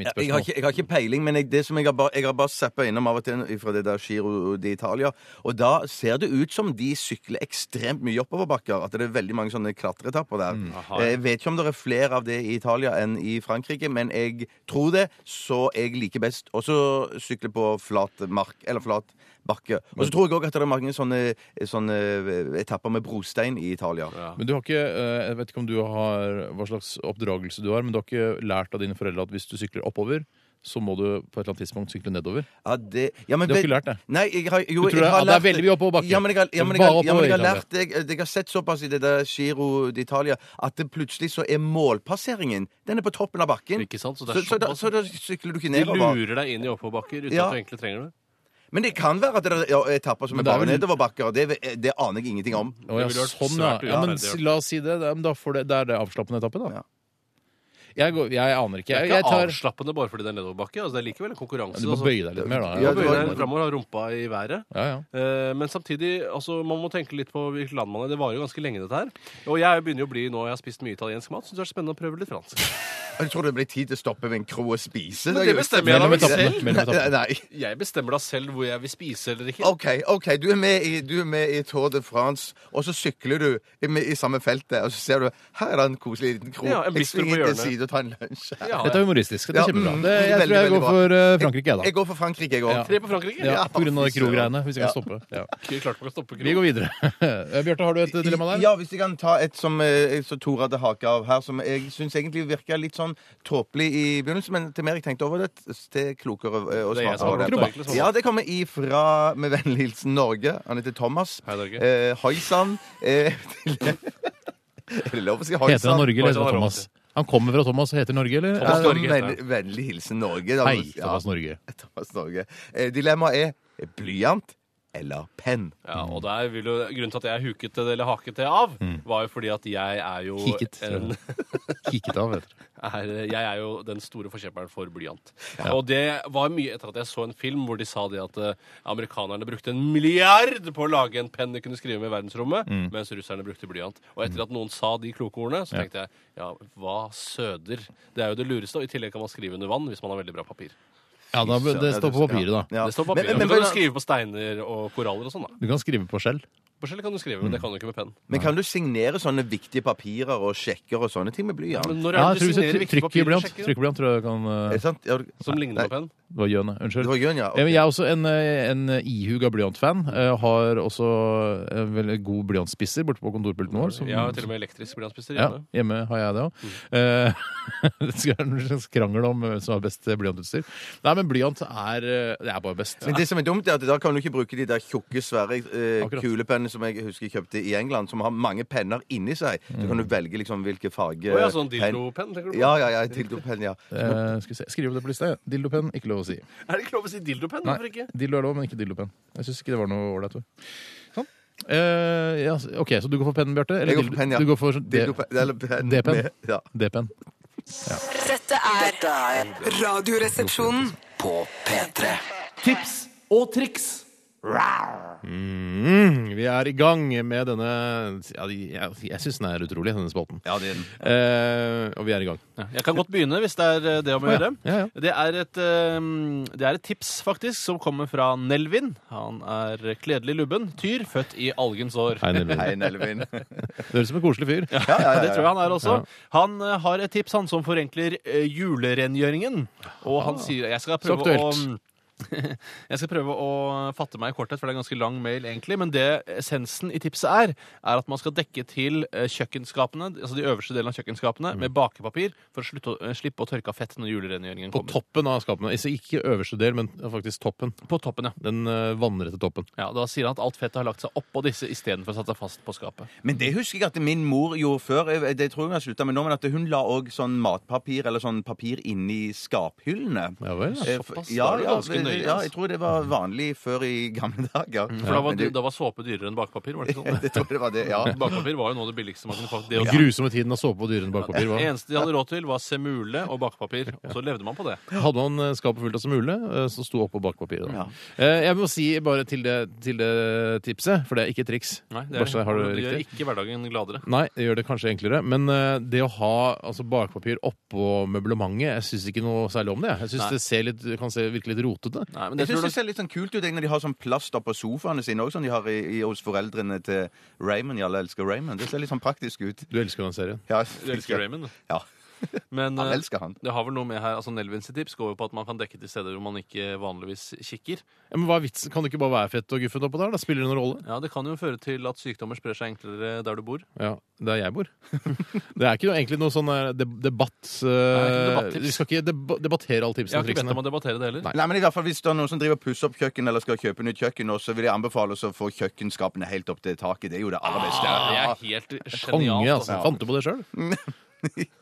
mitt
Jeg har,
spørsmål.
ikke, jeg har ikke peiling, men jeg, det som jeg har bare, jeg har bare zappa innom av og til fra det der Giro d'Italia, og da ser det ut som de sykler ekstremt mye oppoverbakker. At det er veldig mange sånne klatreetapper der.
Mm.
Eh, Jeg vet ikke om det er flere av det i Italia enn i Frankrike, men jeg tror det, så jeg liker best også sykle på flat mark, eller flat bakke. Og så tror jeg òg at det er mange sånne, sånne eh, etapper med brostein i Italia.
Men du har ikke, eh, jeg vet ikke om du har hva slags oppdragelse du har, men du har ikke lært av dine foreldre at hvis du sykler oppover, så må du på et eller annet tidspunkt sykle nedover.
Ja, det, ja, men,
Du har
vet-
ikke lært det?
Nei, jeg har, jo,
Du tror
jeg
det-
har
ja, det er
lært
veldig mye oppoverbakke.
Ja, men jeg har, ja, men jeg
Bare
har, ja, men jeg har
oppover,
lært det. Jeg, jeg har sett såpass i det der Giro d'Italia at det plutselig så er målpasseringen Den er på toppen av bakken.
Ikke sant? Så det
Så,
er
så, da,
såpass.
så da sykler du ikke
De
nedover.
lurer deg inn i oppoverbakker uten
Ja.
at du egentlig trenger det.
Men det kan være at det er ja, etapper som
Men
er
det er
bare
vel-
nedoverbakker, og det, eh, det aner jeg ingenting om.
Å, ja,
Det ville vært
sånn, ja.
svært
ja men
urettferdig.
la oss si det. Da- men Da får det, det er det avslappende etappe, da.
Ja.
Jeg, går, jeg aner ikke.
Det
Jeg,
er
jeg
ikke
tar,
avslappende bare fordi det er nedoverbakke. Altså, det er likevel en konkurranse.
du må
altså.
bøye deg litt mer, da.
Ja,
Du må bøye deg
må-
fremover, ha rumpa i været.
ja, ja.
Eh, Men samtidig, altså, man må tenke litt på hvilket land man er. Det varer jo ganske lenge, dette her. Og jeg begynner jo å bli, nå jeg har spist mye italiensk mat, syns det er spennende å prøve litt fransk.
Jeg tror det blir tid til å stoppe ved en kro og spise.
Men
er
det
jo-
bestemmer jeg da
Mellom
vel
etappene.
selv.
Mellom
Nei,
etappene.
nei.
Jeg bestemmer da selv hvor jeg vil spise eller ikke.
OK, ok, du er med i, du er med i Tour de France, og så sykler du i, med, i samme feltet, og så ser du her er det en koselig liten krok.
Ja, en
jeg
bistro på
svinger til
hjørnet.
side og tar en lunsj. her.
Ja,
Dette er humoristisk. Det
Ja,
er kjempebra.
mm,
Det, jeg tror
veldig,
jeg
veldig
går
bra.
for eh, Frankrike, jeg,
Jeg går for Frankrike, jeg òg.
Tre på Frankrike?
da. Ja, på grunn av de krogreiene, hvis jeg kan stoppe. Ja.
Ikke klart man kan stoppe
Vi
kro.
går
(laughs)
videre. Eh, Bjarte, har du et dilemma der?
Ja, hvis jeg kan ta et som, eh, som Tor hadde hake av her, som jeg syns egentlig virka litt sånn tåpelig i begynnelsen, men til mer jeg tenkte over det, til klokere eh, å
Det er
svare
jeg som
på
har
det.
vært egentlig sånn.
Ja, det kommer ifra Med vennlig hilsen Norge. Han heter Thomas.
Hei, Norge.
Eh, Hoi sann. Eh, til- (laughs) Er det lov å si hoi
Heter han
sann?
Norge, eller heter han
Oi,
Thomas? Han kommer fra Thomas og heter Norge, eller?
Thomas
Ja,
Norge heter
venn- Vennlig hilsen Norge. da.
Hei,
Ja,
Thomas Norge.
Thomas Norge. Eh, Dilemmaet er blyant eller penn.
Ja, og der vil jo, Grunnen til at jeg huket det eller haket det av,
Mm.
var jo fordi at jeg er jo
Kiket, tror jeg.
en
Kikket av, heter det.
er, eh, jeg er jo den store forkjemperen for blyant. Og det var mye etter at jeg så en film hvor de sa det at eh, amerikanerne brukte en milliard på å lage en penn de kunne skrive med i verdensrommet,
Mm.
mens russerne brukte blyant. Og etter at noen sa de kloke ordene, så tenkte jeg ja, hva søder? Det er jo det lureste, og i tillegg kan man skrive under vann hvis man har veldig bra papir.
Ja, da, det står på papiret, da.
Ja.
Det står på
Men,
papiret.
men,
du kan
men,
jo skrive på steiner og koraller og sånn, da.
Du kan skrive på skjell.
Forskjellig kan du skrive,
Mm.
men det kan du ikke med penn.
Men kan du signere sånne viktige papirer og sjekker og sånne ting med blyant?
Men når
Ja,
er
jeg tror
det du
hvis
signerer
jeg
viktige
trykker
papirer,
blyant,
sjekker du?
trykker blyant, tror jeg kan
Er det
eh,
sant? Ja, du-
Som ligner
Nei,
på penn?
Det var gjøne. Unnskyld.
Det var gjøn, ja.
Ja, men
ok.
jeg er også en, eh, en ihuga blyantfan. eh, Har også en veldig god blyantspisser borte på kontorpulten vår. som-
Jeg har til og med elektrisk blyantspisser
ja,
hjemme.
hjemme har jeg det òg. (laughs) det skal være en slags krangel om hvem som har best blankutstyr. Nei, men blyant er eh, Det er bare best.
Men det som er dumt, er at da kan du ikke bruke de der tjukke, svære eh,
Akkurat.
kulepennene som jeg husker jeg kjøpte i England, som har mange penner inni seg. Så kan du
Mm.
velge liksom hvilke farge
Å ja, sånn
penn-
dildopenn, tenker du på?
Ja, ja, ja, dildopenn, ja.
Eh, skal vi se. Skriv det på lista. ja. Dildopenn, ikke lov å si.
Er det ikke lov å si dildopenn?
Nei,
Hvorfor ikke?
Dildo er lov, men ikke dildopenn. Jeg syns ikke det var noe ålreit ord. Sånn. Eh, ja, så- OK, så du går for penn, Bjarte? Eller
Jeg går
dildo-
for penn, ja.
Du går for sånn- D-
Dildopenn, eller penn.
D-penn.
med- Ja.
D-penn.
Dette er Radioresepsjonen.
På P3.
Tips og triks.
Mm, vi er i gang med denne ja, Jeg, jeg syns den er utrolig, denne spalten.
ja, det er den.
Eh, og vi er i gang.
Jeg kan godt begynne, hvis det er eh, det om å
Å, ja.
gjøre.
Ja, ja.
Det, er et, eh, det er et tips, faktisk, som kommer fra Nelvin. Han er kledelig lubben tyr, født i algens år.
Hei, Nelvin.
Hei, (laughs) Nelvin.
Det høres ut som en koselig fyr.
Det tror jeg han er også. Han eh, har et tips han som forenkler eh, julerengjøringen. Og han sier Jeg skal
Så
prøve å
aktuelt.
(laughs) jeg skal prøve å fatte meg i korthet, for det er en ganske lang mail. egentlig, Men det essensen i tipset er, er at man skal dekke til eh, kjøkkenskapene, altså de øverste delene av kjøkkenskapene
Mm.
med bakepapir for å slutte, å- eh, slippe å tørke av fett når julerengjøringen
På
kommer.
toppen av skapene. Ikke- Ikke øverste del, men faktisk toppen.
På toppen, ja.
Den eh, vannrette toppen.
ja. Da sier han at alt fettet har lagt seg oppå disse istedenfor å satt seg fast på skapet.
Men det husker jeg at min mor gjorde før. Jeg- Det tror jeg hun har slutta med nå, men at hun la òg sånn matpapir eller sånn papir inni skaphyllene.
Ja vel? ja.
Eh,
såpass.
for- Ja,
Da er du
ja,
ganske
det-
nøye,
ja,
altså.
jeg tror det var vanlig før i gamle dager.
For da var,
Men det-
da var såpe dyrere enn bakepapir, var det ikke sånn?
(laughs) Jeg tror det var det, ja.
Bakepapir var jo noe av det billigste man kunne få. Det
Den
å
grusomme tiden av såpe og dyrende bakpapir.
Det
Hva?
eneste de hadde råd til, var semule og bakepapir. Og så levde man på det.
Hadde man eh, skapet fullt av smule, eh, så sto oppå bakpapiret. da. Eh, Jeg må si bare til det, til det tipset, for det er ikke et triks.
Nei, det,
Bare så jeg har det
gjør
riktig.
ikke hverdagen gladere.
Nei, det gjør det kanskje enklere. Men eh, det å ha altså, bakpapir oppå møblementet Jeg syns ikke noe særlig om det. jeg. Jeg
Nei.
synes det ser litt, kan se, virke litt rotete.
Nei, men det
Jeg
tror
syns det
nok-
ser litt sånn kult ut jeg, når de har sånn plast oppå sofaene sine òg, som de har i, i, hos foreldrene til Raymond. Ja, alle elsker Raymond. Det ser litt sånn praktisk ut.
Du elsker den serien.
Ja,
du elsker Raymond.
(laughs) Ja.
Men
Han
eh,
elsker han.
det har vel noe med her, altså Nelvins tips går jo på at man kan dekke til steder hvor man ikke vanligvis kikker.
Ja, men hva er vitsen? Kan det ikke bare være fett og guffent oppå der? Da spiller det noen rolle.
Ja, Det kan jo føre til at sykdommer sprer seg enklere der du bor.
Ja, Der
(laughs)
jeg bor. Det er ikke noe, egentlig noe sånn eh, deb- debatt... eh,
Nei, det er ikke debattips.
vi skal ikke deb debattere alle
Jeg
tipsene
har
og
ikke bedt
triksene.
om å debattere det heller.
Nei.
Nei, men i hvert fall Hvis det er noen som driver og pusser opp kjøkken eller skal kjøpe nytt kjøkken, nå, så vil jeg anbefale oss å få kjøkkenskapene helt opp til taket. Det er jo det aller beste.
Det
Ja.
er helt
Konge,
genialt.
altså.
Altså.
Fant du på det sjøl?
(laughs)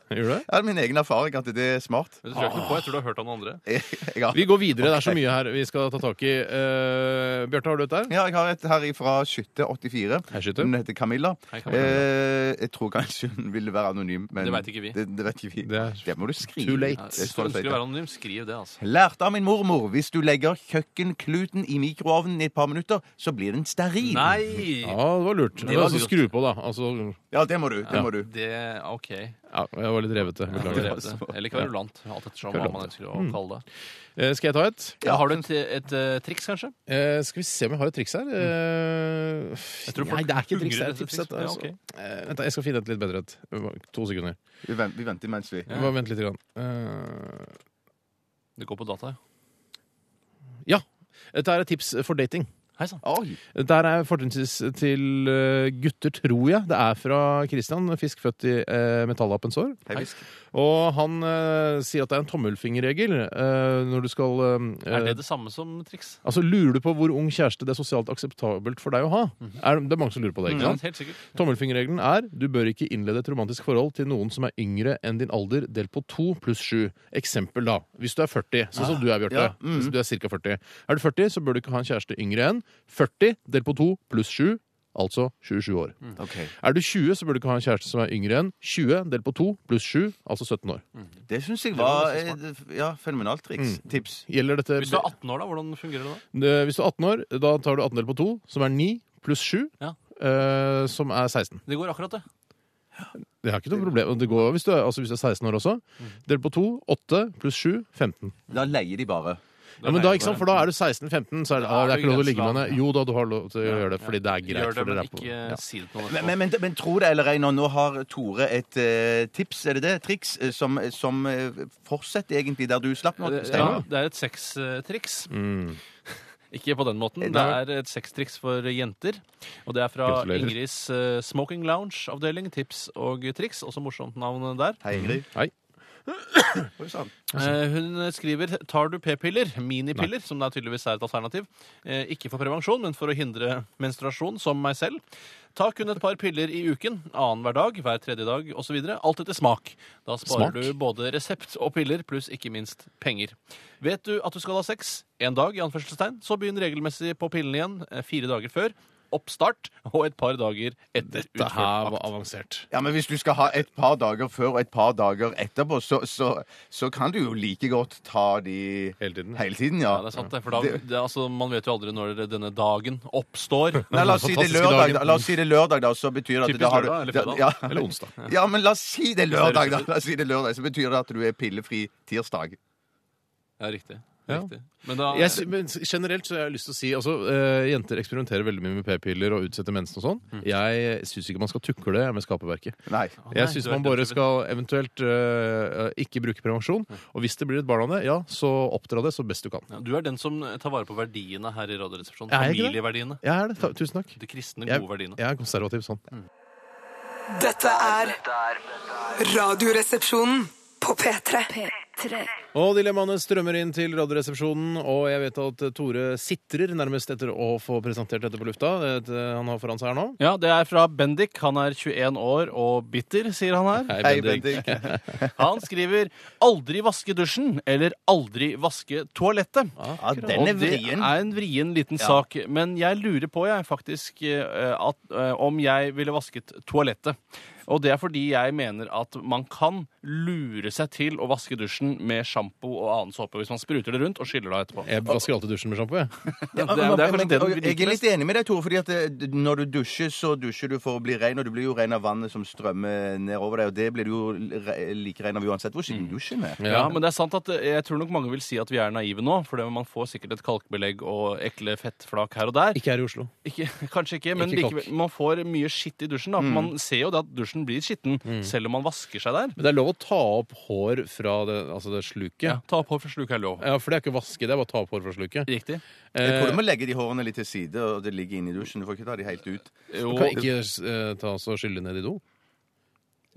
Gjør du det?
Ja, det er min egen erfaring at det er smart. (laughs)
Men Det tror jeg ikke noe på. Jeg tror du har hørt av noen andre.
Jeg, jeg har,
Vi går videre. Det er så mye her vi skal ta tak i. Uh, Bjarte, har du et der?
ja, jeg har et her fra Skytte84.
Hei, Skytte.
Hun heter Camilla.
Hei, Camilla.
Eh, jeg tror kanskje hun ville være anonym. Men
Det vet ikke vi.
Det, det vet ikke vi.
Det er
Det må du skrive.
too late.
Ja,
Det
Hvis du
får du si
ønsker å
til.
være anonym, skriv det, altså.
Lærte av min mormor hvis du legger kjøkkenkluten i mikroovnen i et par minutter, så blir den steril.
Nei!
Ja, det var lurt.
var
Altså,
lurt.
skru på, da. Altså,
Ja, det må du. Det må du.
Det OK.
ja, jeg var litt revete. Beklager.
Drevet det. Eller kverulant. Alt ettersom hva man ønsker å kalle det.
Eh, skal jeg ta et?
Ja, har du et, et eh, triks, kanskje?
Eh, skal vi se om jeg har et triks her. Eh,
tror folk
nei, det er ikke et triks.
hungrer
Det er
etter
et tips.
triks.
dette,
Ja,
altså.
ok.
Eh, vent, da, jeg skal finne et litt bedre et. To sekunder.
Vi, vent, vi venter mens vi
Bare vent litt. Grann. Eh,
Det går på data, ja.
ja. Dette er et tips for dating.
Hei sann.
Oi!
Der er fortrinnsvis til eh, gutter, tror jeg. Det er fra Christian, fisk født i eh, metallappens år.
Hei, Fisk.
Og han eh, sier at det er en tommelfingerregel eh, når du skal eh,
Er det det samme som triks?
Altså, Lurer du på hvor ung kjæreste det er sosialt akseptabelt for deg å ha?
Mhm.
er, det er mange som lurer på det. ikke
Ja,
sant?
helt sikkert.
Tommelfingerregelen er du bør ikke innlede et romantisk forhold til noen som er yngre enn din alder, delt på to pluss sju. Eksempel, da. Hvis du er 40, sånn
Ah,
som du er, Bjarte.
Ja,
Mhm.
Hvis du er cirka 40. Er du 40, så bør du ikke ha en kjæreste yngre enn 40 delt på to pluss sju, altså 27 år.
Mhm.
Er du 20, så bør du ikke ha en kjæreste som er yngre enn 20 delt på to pluss sju, altså 17 år.
Det syns jeg var eh, ja, fenomenalt triks. Tips.
Gjelder dette
Hvis du er 18 år, da, hvordan fungerer det da?
Eh, Hvis du er 18 år, da tar du 18 delt på 2, som er 9, pluss 7,
Ja.
eh, som er 16.
Det går akkurat, det.
Det er ikke noe problem. Og Det går
Mm.
hvis du er, altså hvis du er 16 år også. Delt på 2, 8 pluss 7, 15.
Da leier de bare.
Ja, men da, ikke sant, for da er du 16-15, så er det,
Da
ah,
er
det er
du
ikke lov å ligge
grenseland.
med henne. Jo da, du har lov til å gjøre det, fordi det er greit.
Gjør det,
for
men
dere er på-
ikke
ja.
si det til noen.
Men, men, men, men tro det eller ei, nå nå har Tore et eh, tips, er det det? Triks eh, som, som eh, fortsetter egentlig der du slapp nå.
Det-
Steinar.
Eh, Ja, det er et sextriks. (laughs) Ikke på den måten. Det
Nei.
er et sextriks for jenter. Og det er fra
Gratulerer.
Ingrids eh, Smoking Lounge-avdeling. Tips og triks. Også morsomt navn der.
Hei, Ingrid.
Hei.
Oi, sann. Sånn.
Eh, Hun skriver tar du p-piller, minipiller, som da tydeligvis er et alternativ, eh, ikke for prevensjon, men for å hindre menstruasjon, som meg selv. Ta kun et par piller i uken, annenhver dag, hver tredje dag osv. Alt etter smak. Da sparer
Smak?
du både resept og piller, pluss ikke minst penger. Vet du at du skal ha sex en dag, i anførselstegn, så begynn regelmessig på pillene igjen eh, fire dager før. Oppstart og et par dager etter
Det her
utført
var
akt.
avansert.
Ja, men hvis du skal ha et par dager før og et par dager etterpå, så, så, så kan du jo like godt ta de
Hele tiden.
Hele tiden, ja.
Ja, det er sant, det, for da, det, er altså, man vet jo aldri når denne dagen oppstår.
(laughs) Nei, la oss, si
(laughs)
det er lørdag, da. la oss si det er lørdag, da. Så betyr det at
Typisk
da har du
lørdag eller fredag.
Ja.
Eller onsdag.
Ja, men la oss si det er lørdag, da. La oss si det er lørdag, Så betyr det at du er pillefri tirsdag.
Ja, riktig.
Ja.
riktig. Men da
Jeg, sy- men generelt så har jeg lyst til å si altså, eh, Jenter eksperimenterer veldig mye med p-piller og utsetter mensen og sånn.
Mm.
Jeg syns ikke man skal tukle det med skaperverket.
Nei.
Jeg
nei,
syns
du er
man
helt
bare
rett.
skal eventuelt eh, ikke bruke prevensjon. Og hvis det blir et barn av det, ja, så oppdra det så best du kan.
Ja, Du er den som tar vare på verdiene her i Radioresepsjonen.
Er jeg ikke det?
Familieverdiene.
Jeg er det. Ta- Tusen takk.
De kristne,
Jeg,
gode verdiene.
jeg er konservativ sånn.
Dette er Radioresepsjonen på P3.
Og dilemmaene strømmer inn til Radioresepsjonen, og jeg vet at Tore sitrer nærmest etter å få presentert dette på lufta. Det det han har foran seg her nå.
Ja, det er fra Bendik. Han er 21 år og bitter, sier han her.
Hei, Bendik.
Han skriver 'aldri vaske dusjen' eller 'aldri vaske toalettet'.
Ja, den er
Og det
vrien.
er en vrien liten sak. Men jeg lurer på, jeg, faktisk, eh, at, eh, om jeg ville vasket toalettet. Og det er fordi jeg mener at man kan lure seg til å vaske dusjen med sjampo og annen såpe hvis man spruter det rundt og skyller det av etterpå.
Jeg vasker alltid dusjen med sjampo, jeg.
Ja,
Ja, det, er, det er
men-
kanskje det du
og jeg er
liker
litt enig med deg, Tore, fordi at eh, d- når du dusjer, så dusjer du for å bli ren, og du blir jo ren av vannet som strømmer nedover deg, og det blir du jo re- like ren av uansett hvor siden dusjen er.
Mm. Ja, men det er sant at eh, jeg tror nok mange vil si at vi er naive nå, for det- man får sikkert et kalkbelegg og ekle fettflak her og der.
(laughs) Ikke her i Oslo.
Ikke, (laughs) kanskje ikke, men
Ikke kalk.
likevel, man får mye skitt i dusjen. da.
Mm.
Man ser jo det at dusjen blir skitten, selv om man vasker seg der.
Men det er lov å ta opp hår fra det, altså det sluket. Ja.
Ta opp hår for sluk er lov.
for det er ikke å vaske, det er bare å ta opp hår fra sluket.
Riktig.
Jeg tror du må
Eh.
legge de hårene litt til side, og det ligger inne i dusjen. Du får ikke ta de helt ut.
Jo,
Du kan ikke eh, ta oss og skylle ned i do.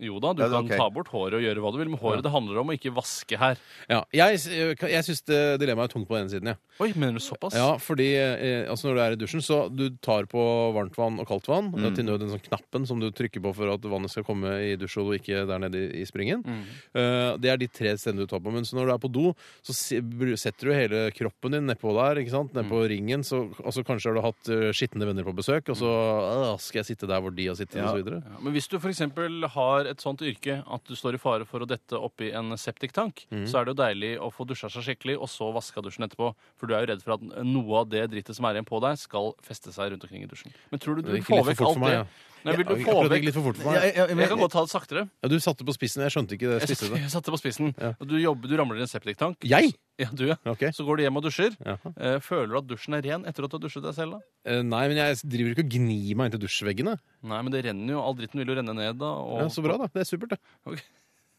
jo da, du
Ja, det er
kan
ok.
ta bort håret og gjøre hva du vil med håret. Det handler om å ikke vaske her.
Ja, jeg eh, jeg syns dilemmaet er tungt på den ene siden. Ja.
Oi, mener du såpass?
Ja, fordi eh, altså når du er i dusjen, så du tar på varmt vann og kaldt vann. eh, Til nød den sånn knappen som du trykker på for at vannet skal komme i dusjhodet og ikke der nede i, i springen. Eh, det er de tre stedene du tar på. Men så når du er på do, så se, bru- setter du hele kroppen din nedpå der. ikke sant? Nedpå ringen. Så, og så kanskje har du hatt uh, skitne venner på besøk, og så «Åh, skal jeg sitte der hvor de har sittet, og så videre.
Ja, Men hvis du f.eks. har et sånt yrke at du står i fare for å dette oppi en septiktank,
Mhm.
så er det jo deilig å få dusja seg skikkelig, og så vaska dusjen etterpå. For du er jo redd for at noe av det drittet som er igjen på deg, skal feste seg rundt omkring i dusjen. Men tror du du
Det
vil
gikk
få
litt for
vekk
fort
alt
for meg,
det?
ja.
Nei, vil du
Jeg
få
prøvde
vekk
ikke litt for fort for
Ja,
meg.
jeg- jeg-
Jeg kan godt ta det saktere.
Ja, du satte på spissen. Jeg skjønte ikke det.
Jeg
Spiste det.
satte det på spissen. Og Du, jobber, du ramler i en septiktank.
Jeg?
Ja, du, ja.
Ok.
Så går du hjem og dusjer.
Jaha.
Eh, Føler du at dusjen er ren etter at du har dusjet deg selv? da?
Eh, nei, men jeg driver ikke og gnir meg inntil dusjveggene.
Nei, men det renner jo. All dritten vil jo renne ned, da. Og...
Ja, så bra, da. Det er supert, det.
Ok.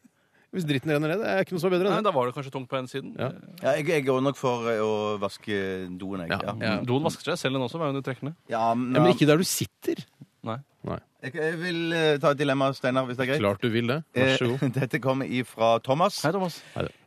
(laughs) Hvis dritten renner ned, det er ikke noe som er bedre enn det.
Nei, da var det kanskje tungt på ene siden. Eh,
Ja.
Ja, jeg, jeg går nok for eh, å vaske doen, jeg. Ja, Mm.
Ja.
Doen vasker seg selv, den også, var jo under trekkene.
Ja, men,
Ja, men ikke der du sitter.
Nei.
jeg, jeg vil eh, ta et dilemma, Steinar, hvis det er greit.
Klart du vil det. Vær så god.
Eh, (laughs) Dette kommer ifra Thomas.
Hei, Thomas.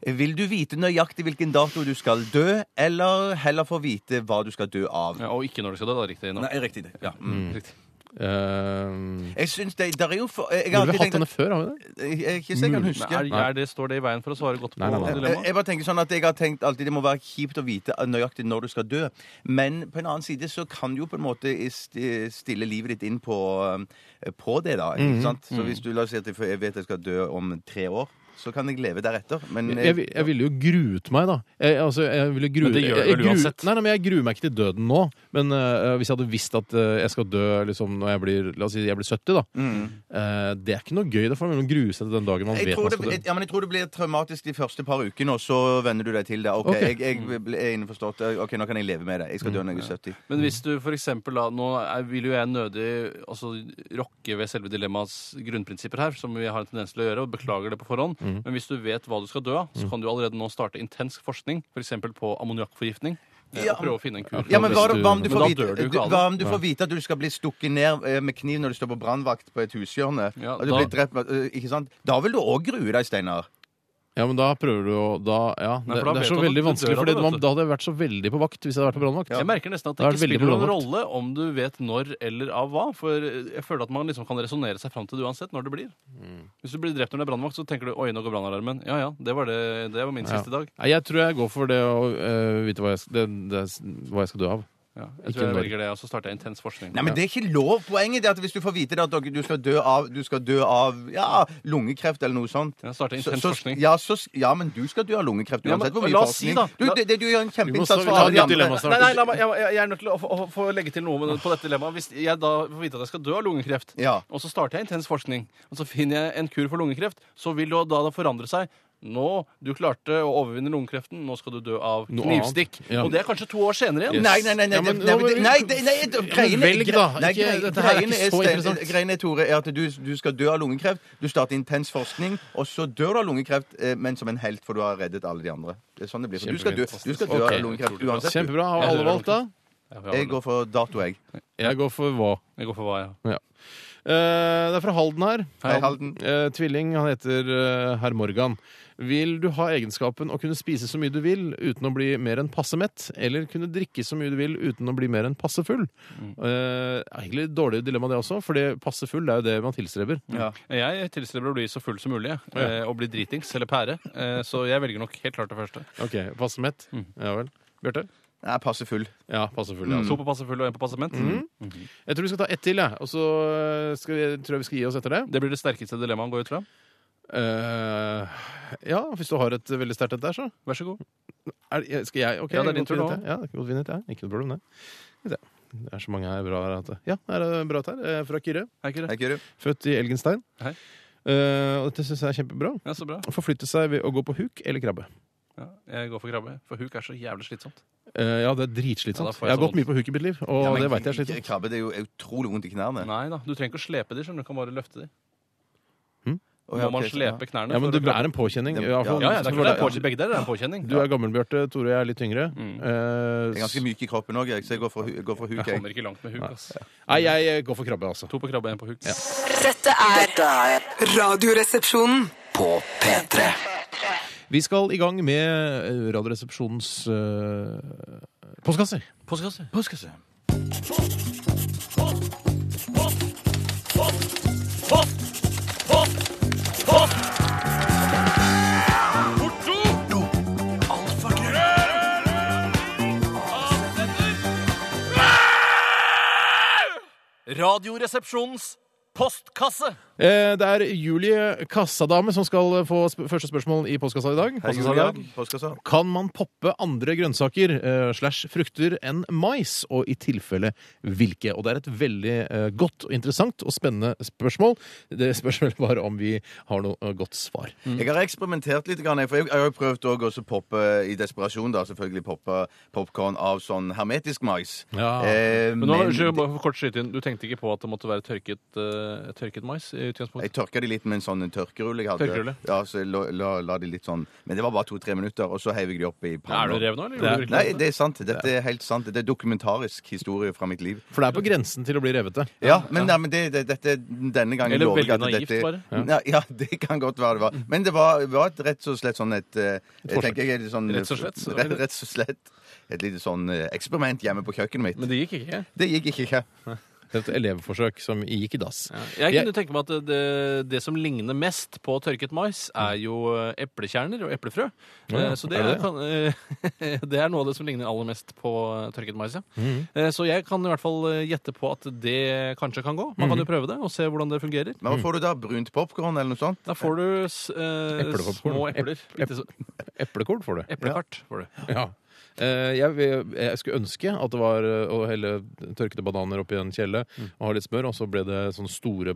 Vil du vite nøyaktig hvilken dato du skal dø, eller heller få vite hva du skal dø av?
Ja, og ikke når du skal dø, da. Riktig. Nå.
Nei, riktig det. Ja.
Mm.
Riktig.
(laughs)
Eh,
Uh,
Jeg syns det der er jo for, Jeg
Eh, vi har
har alltid
hatt
tenkt
denne
at
før, har vi det?
jeg, jeg, Ikke så jeg kan huske.
Men er, er det, står det i veien for å svare godt på
Nei, nei, nei.
Jeg,
dilemmaet?
jeg bare tenker sånn at jeg har tenkt alltid Det må være kjipt å vite eh, nøyaktig når du skal dø. Men på en annen side så kan jo på en måte i sti- stille livet ditt inn på, eh, på det, da. Ikke sant? Så hvis du la oss si at jeg jeg vet jeg skal dø om tre år så kan jeg leve deretter. Men
Jeg, vil- jeg ville jo gruet meg, da. Jeg, altså, jeg ville grue,
Men det gjør
jeg,
det
jeg
vel
gru-
uansett.
Nei, nei, men jeg gruer meg ikke til døden nå. Men eh, hvis jeg hadde visst at eh, jeg skal dø liksom, når jeg blir, la oss si, jeg blir 70, da. Eh, det er ikke noe gøy. Det er for å grue seg til den dagen man
jeg
vet
tror,
man
det,
skal dø.
ja, men jeg tror det blir traumatisk de første par ukene, og så venner du deg til det. OK,
Ok.
jeg, jeg ble- er innforstått. OK, nå kan jeg leve med det. Jeg skal dø når jeg
Mm.
er 70.
Men hvis du for eksempel da, nå er, vil jo jeg nødig altså, rokke ved selve dilemmaets grunnprinsipper her, som vi har en tendens til å gjøre, og beklager det på forhånd,
Mm.
men hvis du vet hva du skal dø av, så kan du allerede nå starte intens forskning, for eksempel på ammoniakkforgiftning, eh,
Ja,
og prøve å finne en kur.
Ja, men hva,
hvis du-
hva om du
Men
får
da
vite,
dør du jo ikke
du-
av
hva
det.
om du får vite at du skal bli stukket ned eh, med kniv når du står på brannvakt på et hushjørne?
Ja,
og du
da-
blir drept, med- eh, ikke sant? Da vil du òg grue deg, Steinar.
Ja, men da prøver du å da, ja,
Nei,
det,
for da
det er
vet
så
du at
veldig
du
vanskelig,
dør av
for
det, vet du.
da hadde jeg vært så veldig på vakt hvis jeg hadde vært på brannvakt.
Jeg merker nesten at
Da
det
er det
ikke
veldig
spiller noen
problemet.
rolle om du vet når eller av hva, for jeg føler at man liksom kan resonnere seg fram til det uansett når det blir.
Mm.
Hvis du blir drept under en brannvakt, så tenker du 'oi, nå går brannalarmen'. Ja ja, det var, det, det var min
Ja.
siste dag.
Nei, jeg tror jeg går for det å øh, vite hva jeg, det, det, hva jeg skal dø av.
Ja,
Ikke
jeg tror jeg
når.
velger det, og så starter jeg intens forskning.
Nei, men det er ikke lov. Poenget er at hvis du får vite det at dere- du skal dø av, du skal dø av ja, lungekreft eller noe sånt
Ja, starte
så,
intens
så,
forskning.
ja, så, ja, men du skal dø av lungekreft
Ja, men
uansett hvor mye
la oss si
forskning.
da-
Du,
la-
det, det, du gjør en kjempeinnsats
vi
for
tar
alle
et
de
nytt
andre.
dilemma snart.
Nei, nei, la meg, jeg, jeg er nødt til å, få- å få legge til noe med, på dette dilemmaet. Hvis jeg da får vite at jeg skal dø av lungekreft,
Ja.
og så starter jeg intens forskning, og så finner jeg en kur for lungekreft, så vil det da det forandre seg. Nå, Du klarte å overvinne lungekreften, nå skal du dø av
Noe
knivstikk.
annet. Ja.
Og det er kanskje to år senere igjen.
Nei, nei, nei, nei,
Ja, men-
det- nei,
nå må
det-
vi-
nei, det- nei, det- greiene-
Velg, da.
Nei,
Ikke-
greiene-
dette her er ikke
greiene
så
Stein-
interessant.
Greiene, Tore, er at du, du skal dø av lungekreft. Du starter intens forskning, og så dør du av lungekreft, eh, men som en helt, for du har reddet alle de andre. Det er sånn det blir. For Du skal dø, du skal dø
Ok.
av lungekreft uansett. du.
Kjempebra. Har alle valgt, da?
Jeg går for dato, jeg.
Jeg går for hva.
Jeg går for hva, ja.
Ja. Eh, det er fra Halden her.
Hei, Halden.
Eh, tvilling, han heter eh, herr Morgan. Vil du ha egenskapen å kunne spise så mye du vil uten å bli mer enn passe mett, eller kunne drikke så mye du vil uten å bli mer enn passe full? Eh, egentlig et dårlig dilemma det også, for det passe full det er jo det man tilstreber.
Ja.
Jeg tilstreber å bli så full som mulig jeg. eh, og bli dritings eller pære. Eh, så jeg velger nok helt klart det første.
Ok, Passe mett. Ja vel. Bjarte?
Jeg er passe full.
Ja, passe full. Ja, altså.
To på passe full og en på passe ment.
Jeg tror vi skal ta ett til, jeg. Og så eh, skal vi, tror jeg vi skal gi oss etter det.
Det blir det sterkeste dilemmaet, går jeg ut fra.
Eh, ja, hvis du har et veldig sterkt et der, så.
Vær så god.
Er, det- skal jeg? Ok,
Ja, det er din
godt
tur
finn
nå.
ut, jeg. Ja, det er godt finn ut, jeg. Ikke noe problem, det. Skal vi se. Det er så mange her bra her. At, ja, her er det bra et her. eh, Fra Kyrre.
Er ikke
Er
det?
ikke du?
Født i Elgenstein.
Hei.
Eh, og dette syns jeg er kjempebra.
Ja, så bra.
Å Forflytte seg ved å gå på huk eller krabbe.
Ja, jeg går for krabbe, for huk er så jævlig slitsomt.
Eh, ja, det er
Ja, da
dritslitsomt.
får jeg sånn-
jeg har
så
gått mye på huk i mitt liv, og
Ja, men
det veit jeg er slitsomt.
Krabbe, det er jo utrolig vondt i knærne.
Nei da, du trenger ikke å slepe de, skjønner du. du kan bare løfte de.
Å,
Må
ja,
man
ok, så-
slepe knærne?
Ja, men
for
det
å
er
krabbe?
en påkjenning.
Det-
i hvert fall.
ja, ja, det er klart det er
Ja.
påkjenning. Begge der er en påkjenning.
Du er gammel, Bjarte. Tore og jeg er litt yngre.
Mm.
Eh,
Jeg er ganske myk i kroppen òg, så jeg går for, hu- går for huk.
Jeg
Jeg.
kommer ikke langt med huk, ass.
nei, jeg går for krabbe, altså.
To på krabbe, én på huk.
Dette er Radioresepsjonen.
På P3.
Vi skal i gang med eh, Radioresepsjonens eh, postkasser.
Postkasse.
Postkasse.
Radioresepsjonens postkasse!
Eh, Det er Julie Kassadame som skal få sp første spørsmål i postkassa i dag.
Hei,
Postkassa i
Julia.
dag.
Postkassa.
Kan man poppe andre grønnsaker eh, slash frukter enn mais, og i tilfelle hvilke? Og det er et veldig eh, godt og interessant og spennende spørsmål. Det spørs vel bare om vi har noe eh, godt svar.
Jeg har eksperimentert litt, grann, jeg, for jeg jeg har jo prøvd også å poppe i desperasjon da, selvfølgelig poppe popkorn av sånn hermetisk mais.
Ja.
Eh,
Men nå,
men
unnskyld, bare for kort skyte inn. Du tenkte ikke på at det måtte være tørket, eh, tørket mais i
jeg
utgangspunktet?
tørka de litt med en sånn tørkerull jeg hadde.
Tørkerulle?
Ja, så jeg la, la, la de litt sånn Men det var bare to-tre minutter, og så heiv jeg de opp i
Er du
panna.
rev nå, eller? gjorde du virkelig
Nei, det er sant. Dette er helt sant. Det er dokumentarisk historie fra mitt liv.
For det er på grensen til å bli revete.
Ja, men, Nei, men det, det, dette, denne gangen
Eller
lover jeg
veldig
at
naivt,
dette,
bare.
Ja. (laughs) ja, det kan godt være det var. Men det var, var et rett og slett sånn et eh, jeg tenker jeg er litt sånn,
Rett og slett, så-
Rett, rett og slett. Et lite sånn eh, eksperiment hjemme på kjøkkenet mitt.
Men det gikk ikke.
Det gikk ikke.
Et elevforsøk som gikk i dass.
Jeg
Jeg-
kunne tenke meg at det, det som ligner mest på tørket mais, er jo eh, eplekjerner og eplefrø.
Ja,
Eh, Så det
er
er,
det det?
kan, eh, (laughs) det er noe av det som ligner aller mest på eh, tørket mais. Ja.
Mhm.
Eh, Så jeg kan i hvert fall eh, gjette på at det kanskje kan gå.
Mhm.
Man kan jo prøve det og se hvordan det fungerer.
Men hva får du da? Brunt popkorn eller noe sånt?
Da får du s- eh,
Eplepopcorn.
små epler.
Ep-
Litt sånn
Eplekorn får du.
Eplekart får
(laughs)
du.
Ja. Eh, Jeg, vil- jeg skulle ønske at det var eh, å helle tørkede bananer oppi en kjele
Mm.
og ha litt smør, og så ble det sånne store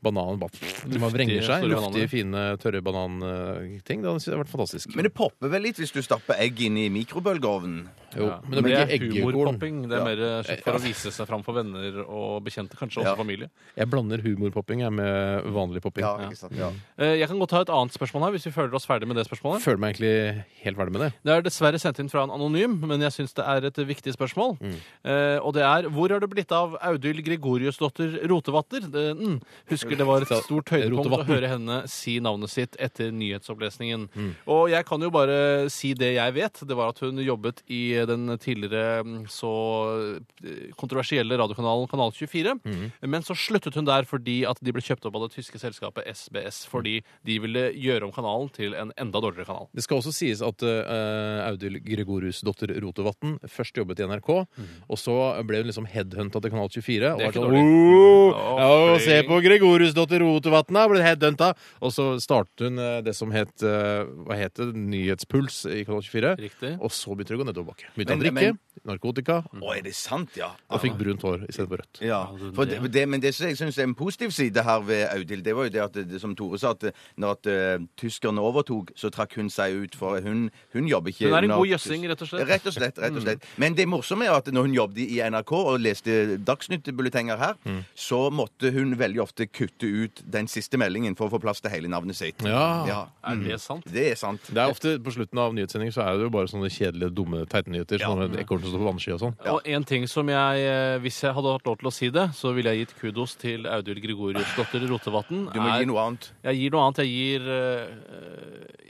bananer bare, som bare vrenger seg.
store
Luftige,
bananer.
fine, tørre bananting. Det hadde vært fantastisk.
Men det popper vel litt hvis du stapper egg inn i mikrobølgeovnen?
jo,
Ja.
men det blir ikke
er
eggekorn.
humorpopping. Det er mer eh,
(laughs)
for å vise seg fram for venner og bekjente, kanskje også
Ja.
familie.
Jeg blander humorpopping jeg, med vanlig popping.
Ja, ikke sant? Ja.
Eh, Jeg kan godt ta et annet spørsmål her, hvis vi føler oss ferdig med det spørsmålet.
Føler meg egentlig helt ferdig med det.
Det er dessverre sendt inn fra en anonym, men jeg syns det er et viktig spørsmål. Eh, og det er hvor har det blitt av Audhild Gregoriusdotter Rotevatner? Det, mm, husker det var et stort høydepunkt å
Rotevatn.
høre henne si navnet sitt etter nyhetsopplesningen. Og jeg kan jo bare si det jeg vet. Det var at hun jobbet i den tidligere mm, så eh, kontroversielle radiokanalen Kanal 24. Men så sluttet hun der fordi at de ble kjøpt opp av det tyske selskapet SBS. Fordi de ville gjøre om kanalen til en enda dårligere kanal.
Det skal også sies at eh, Audhild Gregoriusdotter Rotevatn først jobbet i NRK, og så ble hun liksom headhunta til Kanal 24. Og
Det er
var
ikke
sånn,
dårlig.
«Åh,
Å,
ja, og se
flink.
på Gregoriusdotter Rotevatn, har blitt headhunta! Og så startet hun eh, det som het eh, hva het det, Nyhetspuls i Kanal 24.
Riktig.
Og så begynte det å gå nedoverbakke. Begynte å
Men- Mm.
drikke narkotika
Å, er det sant, ja?
og fikk brunt hår istedenfor rødt.
Ja, for det, det, men det som jeg syns er en positiv side her ved Audhild, det var jo det at det, som Tore sa, at det- når at, eh, tyskerne overtok, så trakk hun seg ut, for hun, hun jobber ikke
Hun er en
under-
god jøssing, rett og slett. Mm.
Rett og slett. rett og slett. Men det morsomme er at når hun jobbet i NRK og leste Dagsnytt-bulletenger her,
Mm.
så måtte hun veldig ofte kutte ut den siste meldingen for å få plass til hele navnet sitt. Mm.
Ja.
Er det sant?
Det er sant.
Det er ofte På slutten av nyhetssendinger så er det jo bare sånne kjedelige, dumme teitnyheter. Ja. Sånn ekorn som står på vannsky og sånn.
Og en ting som jeg, eh, Hvis jeg hadde hatt lov til å si det, så ville jeg gitt kudos til Audhild Gregoriusdotter Rotevatn.
Du må
Er-
gi noe annet.
Jeg gir noe annet. Jeg gir eh,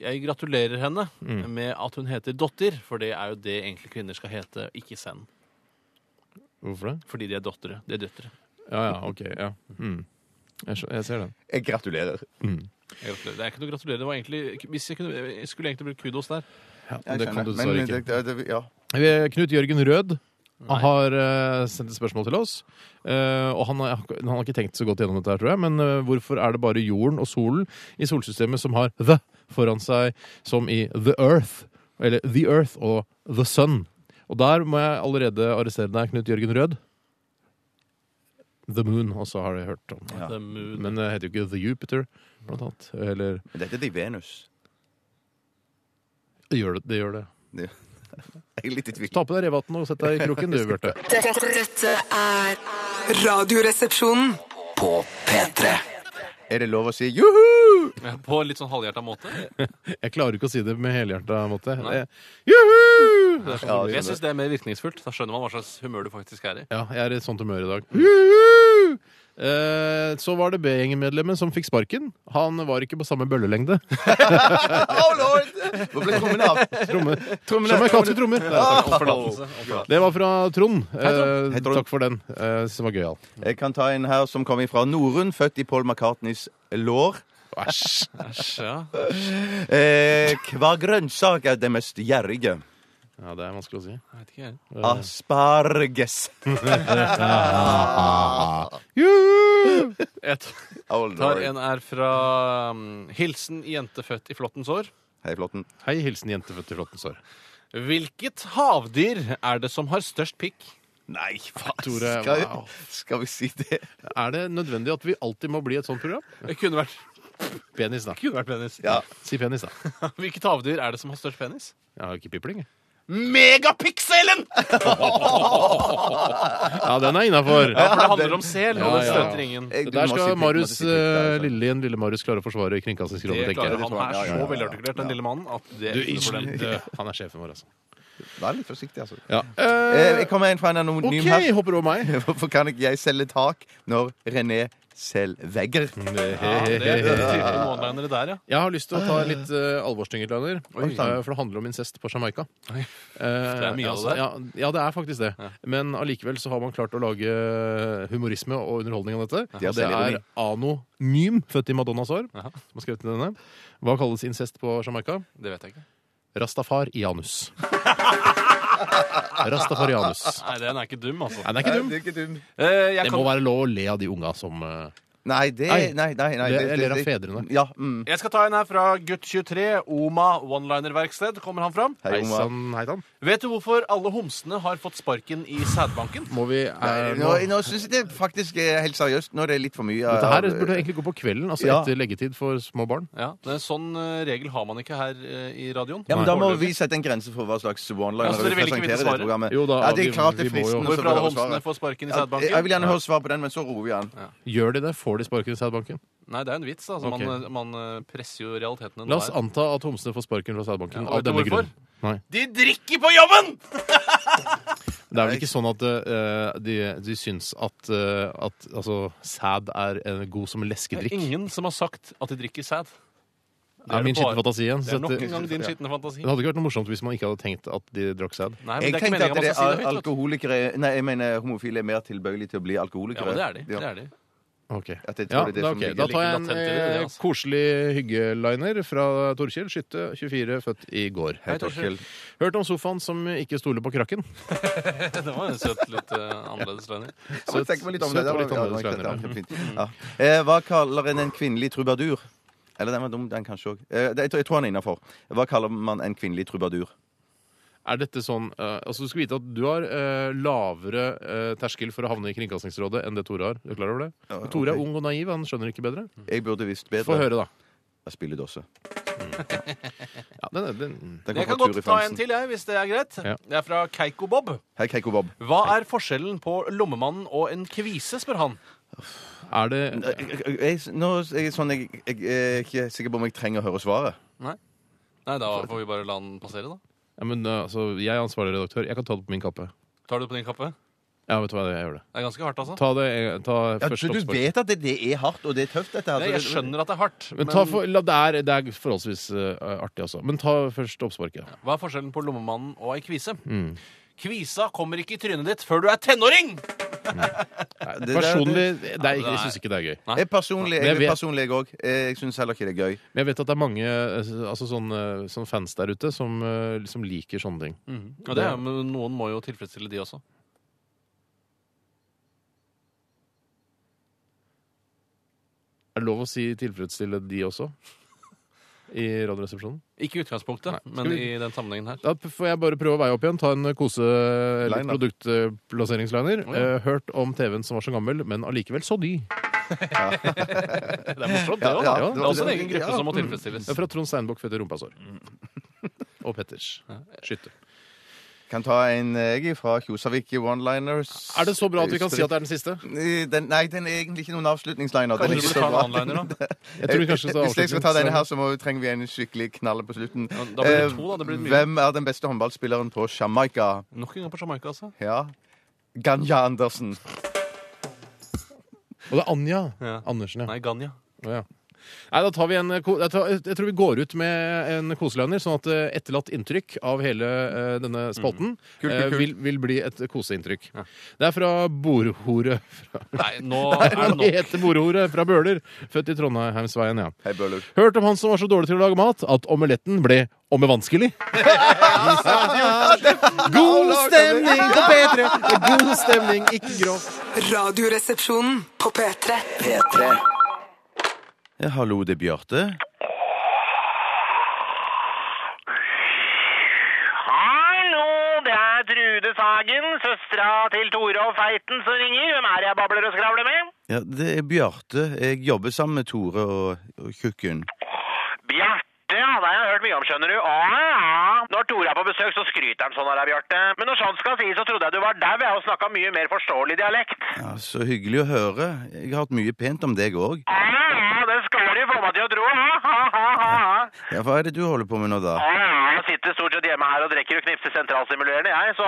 Jeg gratulerer henne
Mm.
med at hun heter Dotter, for det er jo det egentlig kvinner skal hete, ikke send.
Hvorfor det?
Fordi de er dottere. De er døtre.
Ja, ja, ok. Ja. Mm. Jeg, skjø- jeg ser den.
Jeg gratulerer.
Jeg gratulerer. Det er ikke noe å gratulere. Det var egentlig, hvis jeg, kunne, jeg skulle egentlig brukt kudos der.
Ja, det kan du
Men- eh,
dessverre ikke.
det- det- ja.
Vi- Eh, Knut Jørgen Rød har eh, sendt et spørsmål til oss. Eh, og han har, han har ikke tenkt så godt gjennom dette, her, tror jeg. Men eh, hvorfor er det bare jorden og solen i solsystemet som har the foran seg, som i the earth? Eller the earth og the sun. Og der må jeg allerede arrestere deg, Knut Jørgen Rød. The moon også har jeg hørt om.
Ja.
The moon.
Men det heter jo ikke The Jupiter, blant annet. Eller
Men Dette er til Venus.
det gjør det. det, gjør det.
Det- (laughs) Jeg er litt i tvil.
Ta på deg revhatten og sett deg (laughs) i kroken, du, Bjarte.
Dette, dette er Radioresepsjonen.
På P3.
Er det lov å si juhu?
På en litt sånn halvhjerta måte.
Jeg klarer ikke å si det med helhjerta måte. Jeg- Juhu! Det er sånn.
Ja, det
Jeg
skjønner jeg.
syns det er mer virkningsfullt. Da skjønner man hva slags humør du faktisk er i.
Ja, jeg er i et sånt humør i dag. Juhu! Eh, så var det B-gjengen-medlemmet som fikk sparken. Han var ikke på samme bøllelengde.
Oh lord! Hvor ble trommen
(laughs)
av?
Tromme. Jamaicanske (laughs) trommer.
Om forlatelse. Om forlatelse.
Det var fra Trond. Eh,
Hei, Trond.
takk for den. Eh, som var gøyal.
Jeg kan ta en her som kommer fra Norun, født i Paul McCartneys lår.
Æsj.
Ja.
Eh, hva grønnsak er det mest gjerrige?
Ja, det er vanskelig å si.
Jeg vet ikke, jeg.
Asparges.
Juhu!
Jeg t-
Oh
tar
lord.
en er fra um, Hilsen jente født i flottens år.
Hei, Flåtten.
Hei, hilsen jente født i flottens år.
Hvilket havdyr er det som har størst pikk?
Nei, faen.
Tore,
skal, vi-
wow.
skal vi si det?
Er det nødvendig at vi alltid må bli et sånt program?
Det kunne vært, (laughs)
Penis, da.
kunne vært penis.
Ja.
Si penis, da.
Hvilket havdyr er det som har størst penis?
Jeg har ikke pipling, jeg.
Megapikselen!
Ja, den er innafor.
Ja, for det handler om sel, og
Ja,
den
ja.
støter ingen.
Jeg-
Det
du
der
må si
skal
pikk,
Marius,
du må si pikk, det er
eh,
sant.
lille igjen lille Marius klare å forsvare kringkastingsrådet,
Det
tenker
klarer
jeg.
han. Han
Ja,
er
ja, ja,
så
ja.
velartikulert, den lille mannen, at det er
Du,
ikke noe problem.
(laughs) ikke- han er sjefen vår, altså.
Vær litt forsiktig, altså.
Ja.
Eh, jeg kommer en fra en anonym
OK,
her. (laughs)
hopper over meg.
Hvorfor kan ikke jeg selge tak når René selvvegger.
Mm,
Det er en tydelig one-liner der, ja.
Jeg har lyst til å ta litt uh, alvorstynget, Leiner. Eh, For det handler om incest på Jamaica. det
er mye av det der.
Ja, ja, det er faktisk det. Men allikevel så har man klart å lage eh, humorisme og underholdning av dette.
Ja,
Og det
selvironi.
er anonym, født i Madonnas år, som har skrevet denne. Hva kalles incest på Jamaica?
Det vet jeg ikke.
Rastafarianus. Rastafarianus.
Nei, den er ikke dum, altså.
Nei, den er ikke dum.
Det er ikke dum.
Eh, jeg
Det
kan
må være lov å le av de unga som eh,
Nei, det
Nei.
Nei, nei, nei
Det- jeg ler av fedrene.
Ja. Mm.
Jeg skal ta en her fra gutt 23, Oma One-liner-verksted. Kommer han fram?
Hei, Omar.
Heisan, heitan.
Vet du hvorfor alle homsene har fått sparken i sædbanken?
Må vi eh,
Nå,
nå,
nå syns jeg det faktisk er helt seriøst. Nå er det litt for mye. eh, av-
Dette her burde egentlig gå på kvelden, altså
Ja.
etter leggetid for små barn.
Ja, det er Sånn eh, regel har man ikke her eh, i radioen.
ja, men Da må
Foreløpig.
vi sette en grense for hva slags one-liner
Ja, så dere vil ikke vite svaret?
Jo da,
ja, det er
vi-
klart det er
vi må jo-
fristende.
Hvorfor alle homsene får sparken i
Jeg, jeg vil
sædbanken?
gjerne høre svar på den, men så roer vi an.
Gjør de det, får de sparken i sædbanken.
Nei, det er en vits. altså.
Ok.
Man, eh, man eh, presser jo realitetene.
La oss
der.
anta at homsene får sparken fra sædbanken
Ja,
av
vet du
denne
hvorfor?
grunn. Nei.
De drikker på jobben!
Det er vel ikke sånn at eh, de, de syns at, eh, at altså, sæd er eh, god som
Det er
leskedrikk.
ingen som har sagt at de drikker sæd.
Det er min skitne fantasi igjen.
Det
Så
er nok
at,
en gang din
Ja.
skitne fantasi.
det hadde ikke vært noe morsomt hvis man ikke hadde tenkt at de drakk sæd.
Nei,
Jeg
men det er ikke
tenkte at
meningen man
det
skal si
er
det høyt. vet du.
alkoholikere Nei, jeg mener homofile er mer tilbøyelige til å bli alkoholikere.
Ja, men det er de.
(laughs)
Det er de.
Ok.
At jeg tror
Ja,
det er det
da,
som
ok.
ligger-
da tar jeg en
ligger latent i det,
eh,
altså.
koselig hyggeliner fra Torkjell Skytte, 24, født i går.
Hei, Torkjell.
Hørt om sofaen som ikke stoler på krakken.
Det var en søt, litt eh, annerledes løgner.
Jeg må tenke meg litt om det.
Søt og litt
Ja, det var
annerledes
ikke-
løgner,
det var fint. Ja. Eh, Hva kaller en en kvinnelig trubadur? Eller den var dum, den kanskje òg. Jeg tror- jeg tror han er innafor. Hva kaller man en kvinnelig trubadur?
Er dette sånn eh, Altså, du skal vite at du har eh, lavere eh, terskel for å havne i Kringkastingsrådet enn det Tore har. Er du klar over det? Men Tore er ung og naiv, han skjønner ikke bedre.
Jeg burde visst bedre.
Få høre, da.
Jeg spiller dåse.
Ja, den, den,
Den mm. kom
Jeg kan
fra Turi
godt ta
Fransen.
en til, jeg, hvis det er greit.
Ja.
Det er fra Keiko Bob.
Hei, Keiko Bob.
Hva er forskjellen på lommemannen og en kvise, spør han.
er det
Jeg, jeg, Eh, jeg, nå er jeg sånn jeg, jeg, er ikke sikker på om jeg trenger å høre svaret.
Nei, da får vi bare la den passere, da.
ja, men, eh, altså, Jeg er ansvarlig redaktør. Jeg kan ta det på min kappe.
Tar du det på din kappe?
Ja, vet du hva, jeg gjør det.
Det er ganske hardt, altså.
Ta det eh, ta
Ja,
første
så du
oppspark.
vet at det, det er hardt, og det er tøft, dette her.
Nei, jeg skjønner at det er hardt,
Men
men
ta for, la, det, er, det er forholdsvis eh, artig, altså. Men ta først oppsparket.
hva er forskjellen på lommemannen og ei kvise? Kvisa kommer ikke i trynet ditt før du er tenåring!
det, det-
Personlig det er,
Nei.
Jeg syns ikke det er gøy.
Nei.
Jeg personlig,
Men jeg
jeg,
vet-
personlig òg. Jeg syns heller ikke det er gøy.
Men jeg vet at det er mange eh, altså, sånne, sånne fans der ute som, eh, som liker sånne ting.
Ja, det er, men noen må jo tilfredsstille de også.
Er det lov å si tilfredsstille de også? I Radioresepsjonen?
Ikke i utgangspunktet,
Nei.
men
Skal
i
vi-
den sammenhengen her.
Da p- får jeg bare prøve å veie opp igjen. Ta en kose litt
Line, da.
produktplasseringsliner.
Å, ja.
Eh, Hørt om TV-en som var så gammel, men allikevel så
(laughs)
ny.
Det er morsomt, det
Ja,
òg.
ja, det
det, er
var-
også en egen gruppe
ja.
som må tilfredsstilles.
Det er fra Trond Steinbukk, født i rumpasår.
Mm.
Og Petters. Skytte.
Kan ta en eh, jeg fra Kjosavik i one-liners. Eh,
Er det så bra at vi kan si at det er den siste?
den, Nei, den er egentlig ikke noen avslutningsliner. Den
Kanskje
er ikke
du burde
så bra. Eh,
ta en one-liner, da?
Jeg
Eh,
tror kanskje det er
Hvis jeg skal ta
avslutning.
denne her, så må, trenger vi en skikkelig knalle på slutten.
da blir det to, da. Det blir mye.
Eh, Hvem er den beste håndballspilleren på Jamaica?
Nok en gang på Jamaica, altså.
Ja. Ganja Andersen.
Og det er Anja
Ja.
Andersen, ja.
Nei, Ganja.
Å, ja. Nei, da tar vi en, eh, ko- jeg tror- jeg tror vi går ut med en koseløgner, sånn at eh, etterlatt inntrykk av hele eh, denne spalten
Mhm. kult,
eh,
kult.
Vil, vil bli et koseinntrykk. Det er fra Borhore.
Nei, nå er det
(laughs) Han
nok.
heter Borhore fra Bøler, født i Trondheimsveien, ja.
Hei, Bøhler.
Hørt om han som var så dårlig til å lage mat at omeletten ble
(laughs)
(laughs) ommevanskelig. God stemning på P3! God stemning, ikke gråt.
Radioresepsjonen på P3.
P3.
Ja, hallo, det er Bjarte.
Hallo, det er Trude Sagen, søstera til Tore og Feiten som ringer. Hvem er det jeg babler og skravler med?
Ja, det er Bjarte. Jeg jobber sammen med Tore og, og Tjukken.
Bjarte, ja, det har jeg hørt mye om, skjønner du. Å, ja. Når Tore er på besøk, så skryter han sånn av deg, Bjarte. Men når sånt skal sies, så trodde jeg du var dau, jeg, og snakka mye mer forståelig dialekt.
Ja, så hyggelig å høre. Jeg har hørt mye pent om deg òg.
Å, ja, det skal du få dama di og dro. Ha, ha, ha, ha, ha.
Ja, Hva er det du holder på med nå, da?
Ja, ja, Jeg sitter stort sett hjemme her og drikker og knipser sentralstimulerende, jeg. Så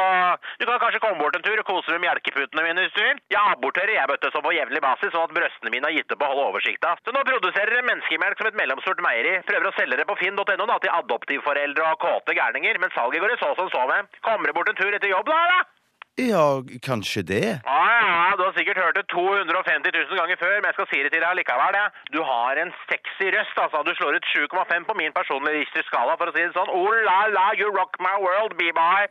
du kan kanskje komme bort en tur og kose med melkeputene mine hvis du vil. Jeg aborterer jeg, vet du, så på jevnlig basis, sånn at brøstene mine har gitt opp å holde oversikta. Så nå produserer jeg menneskemelk som et mellomstort meieri. Prøver å selge det på finn.no da, til adoptivforeldre og kåte gærninger, men salget går i så som så med. Kommer du bort en tur etter jobb da, da?
Ja, kanskje det.
Ja, ja, ja, du har sikkert hørt det 250 000 ganger før, men jeg skal si det til deg likevel. Ja. Du har en sexy røst, altså. Du slår ut 7,5 på min personlige Richter-skala, for å si det sånn. Oh la la, you rock my world, be-bye.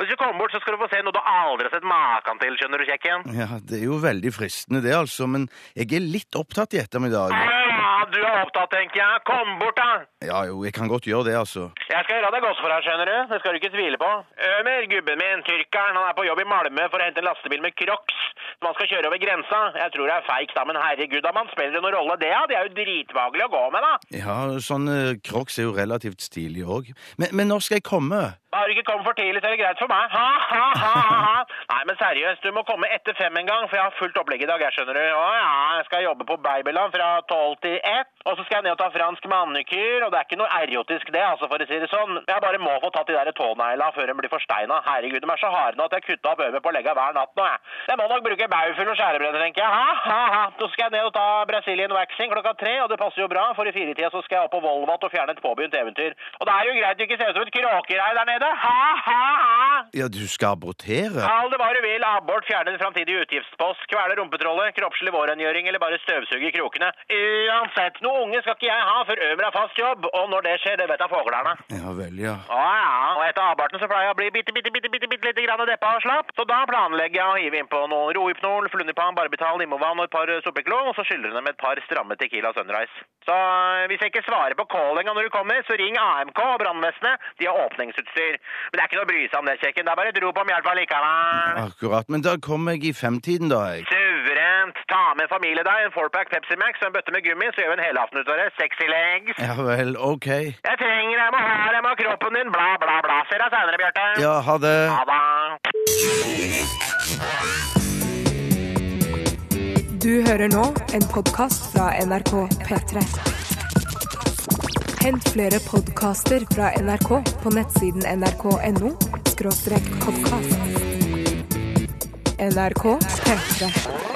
Hvis du kommer bort, så skal du få se noe du aldri har sett maken til, skjønner du, kjekken.
Ja, Det er jo veldig fristende, det, altså. Men jeg er litt opptatt i ettermiddag.
Ja, ja, du er opptatt, tenker jeg. Kom bort, da.
Ja jo, jeg kan godt gjøre det, altså.
Jeg skal gjøre deg godt for deg, skjønner du. Det skal du ikke tvile på. Ømer, gubben min, tyrkeren, han er på jobb i Malmö for å hente en lastebil med Crocs som han skal kjøre over grensa. Jeg tror det er feigt, da, men herregud, da man spiller det noen rolle, det, ja. Det er jo dritvagelig å gå med, da.
Ja, sånn eh, crocs er jo relativt stilig òg. Men, men når skal jeg komme?
Da har du ikke kommet for tidlig, så er det greit for meg. Ha, ha, ha, ha, ha. Nei, men seriøst, du må komme etter fem en gang, for jeg har fullt opplegg i dag, jeg skjønner du. Å ja, jeg skal jobbe på Babyland fra tolv til ett, og så skal jeg ned og ta fransk manikyr, og det er ikke noe erotisk det, altså, for å si det sånn. Jeg bare må få tatt de der tånegla før de blir forsteina. Herregud, de er så harde nå at jeg kutta opp øret på legga hver natt nå, jeg. Jeg må nok bruke baufugl og skjærebrenner, tenker jeg. Ha, ha, ha. Så skal jeg ned og ta Brazilian waxing klokka tre, og det passer jo bra, for i firetida så skal jeg opp på Volvat og fjerne et påbegynt eventyr. Og det er jo greit du ikke ser ut som et kråkereir der nede. Ha, ha, ha.
Ja, du skal abortere?
Kall det hva du vil. Abort, fjerne en framtidig utgiftspost, kvele rumpetrollet, kroppslig vårrengjøring eller bare støvsuge krokene. Uansett, noe unge skal ikke jeg ha før Ømer har fast jobb, og når det skjer, det vet da foglerne.
Ja vel, ja.
Å ja, og etter aborten så pleier jeg å bli bitte, bitte, bitte, bitte, bitte lite grann deppa og slapp. Så da planlegger jeg å hive innpå noe rohypnol, flunipan, barbital, limovan og et par eh, soppeklo, og så skyller de med et par stramme tequila sunrise. Så eh, hvis jeg ikke svarer på callinga når du kommer, så ring AMK og brannvesenet. De har åpningsutstyr. Men det er ikke noe å bry seg om det, kjekken. Det er bare et rop om hjelp allikevel.
Akkurat. Men da kommer jeg i femtiden, da. jeg.
Suverent. Ta med familie deg, en fourpack Pepsi Max og en bøtte med gummi, så gjør vi en helaften ut av det. Sexy legs.
Ja vel, ok.
Jeg trenger deg, jeg må ha deg, jeg må ha kroppen din, bla, bla, bla. Ser deg seinere, Bjarte.
Ja, ha det.
Ha det.
Du hører nå en podkast fra NRK P3. Hent flere podkaster fra NRK på nettsiden nrk.no podkast. NRK P3.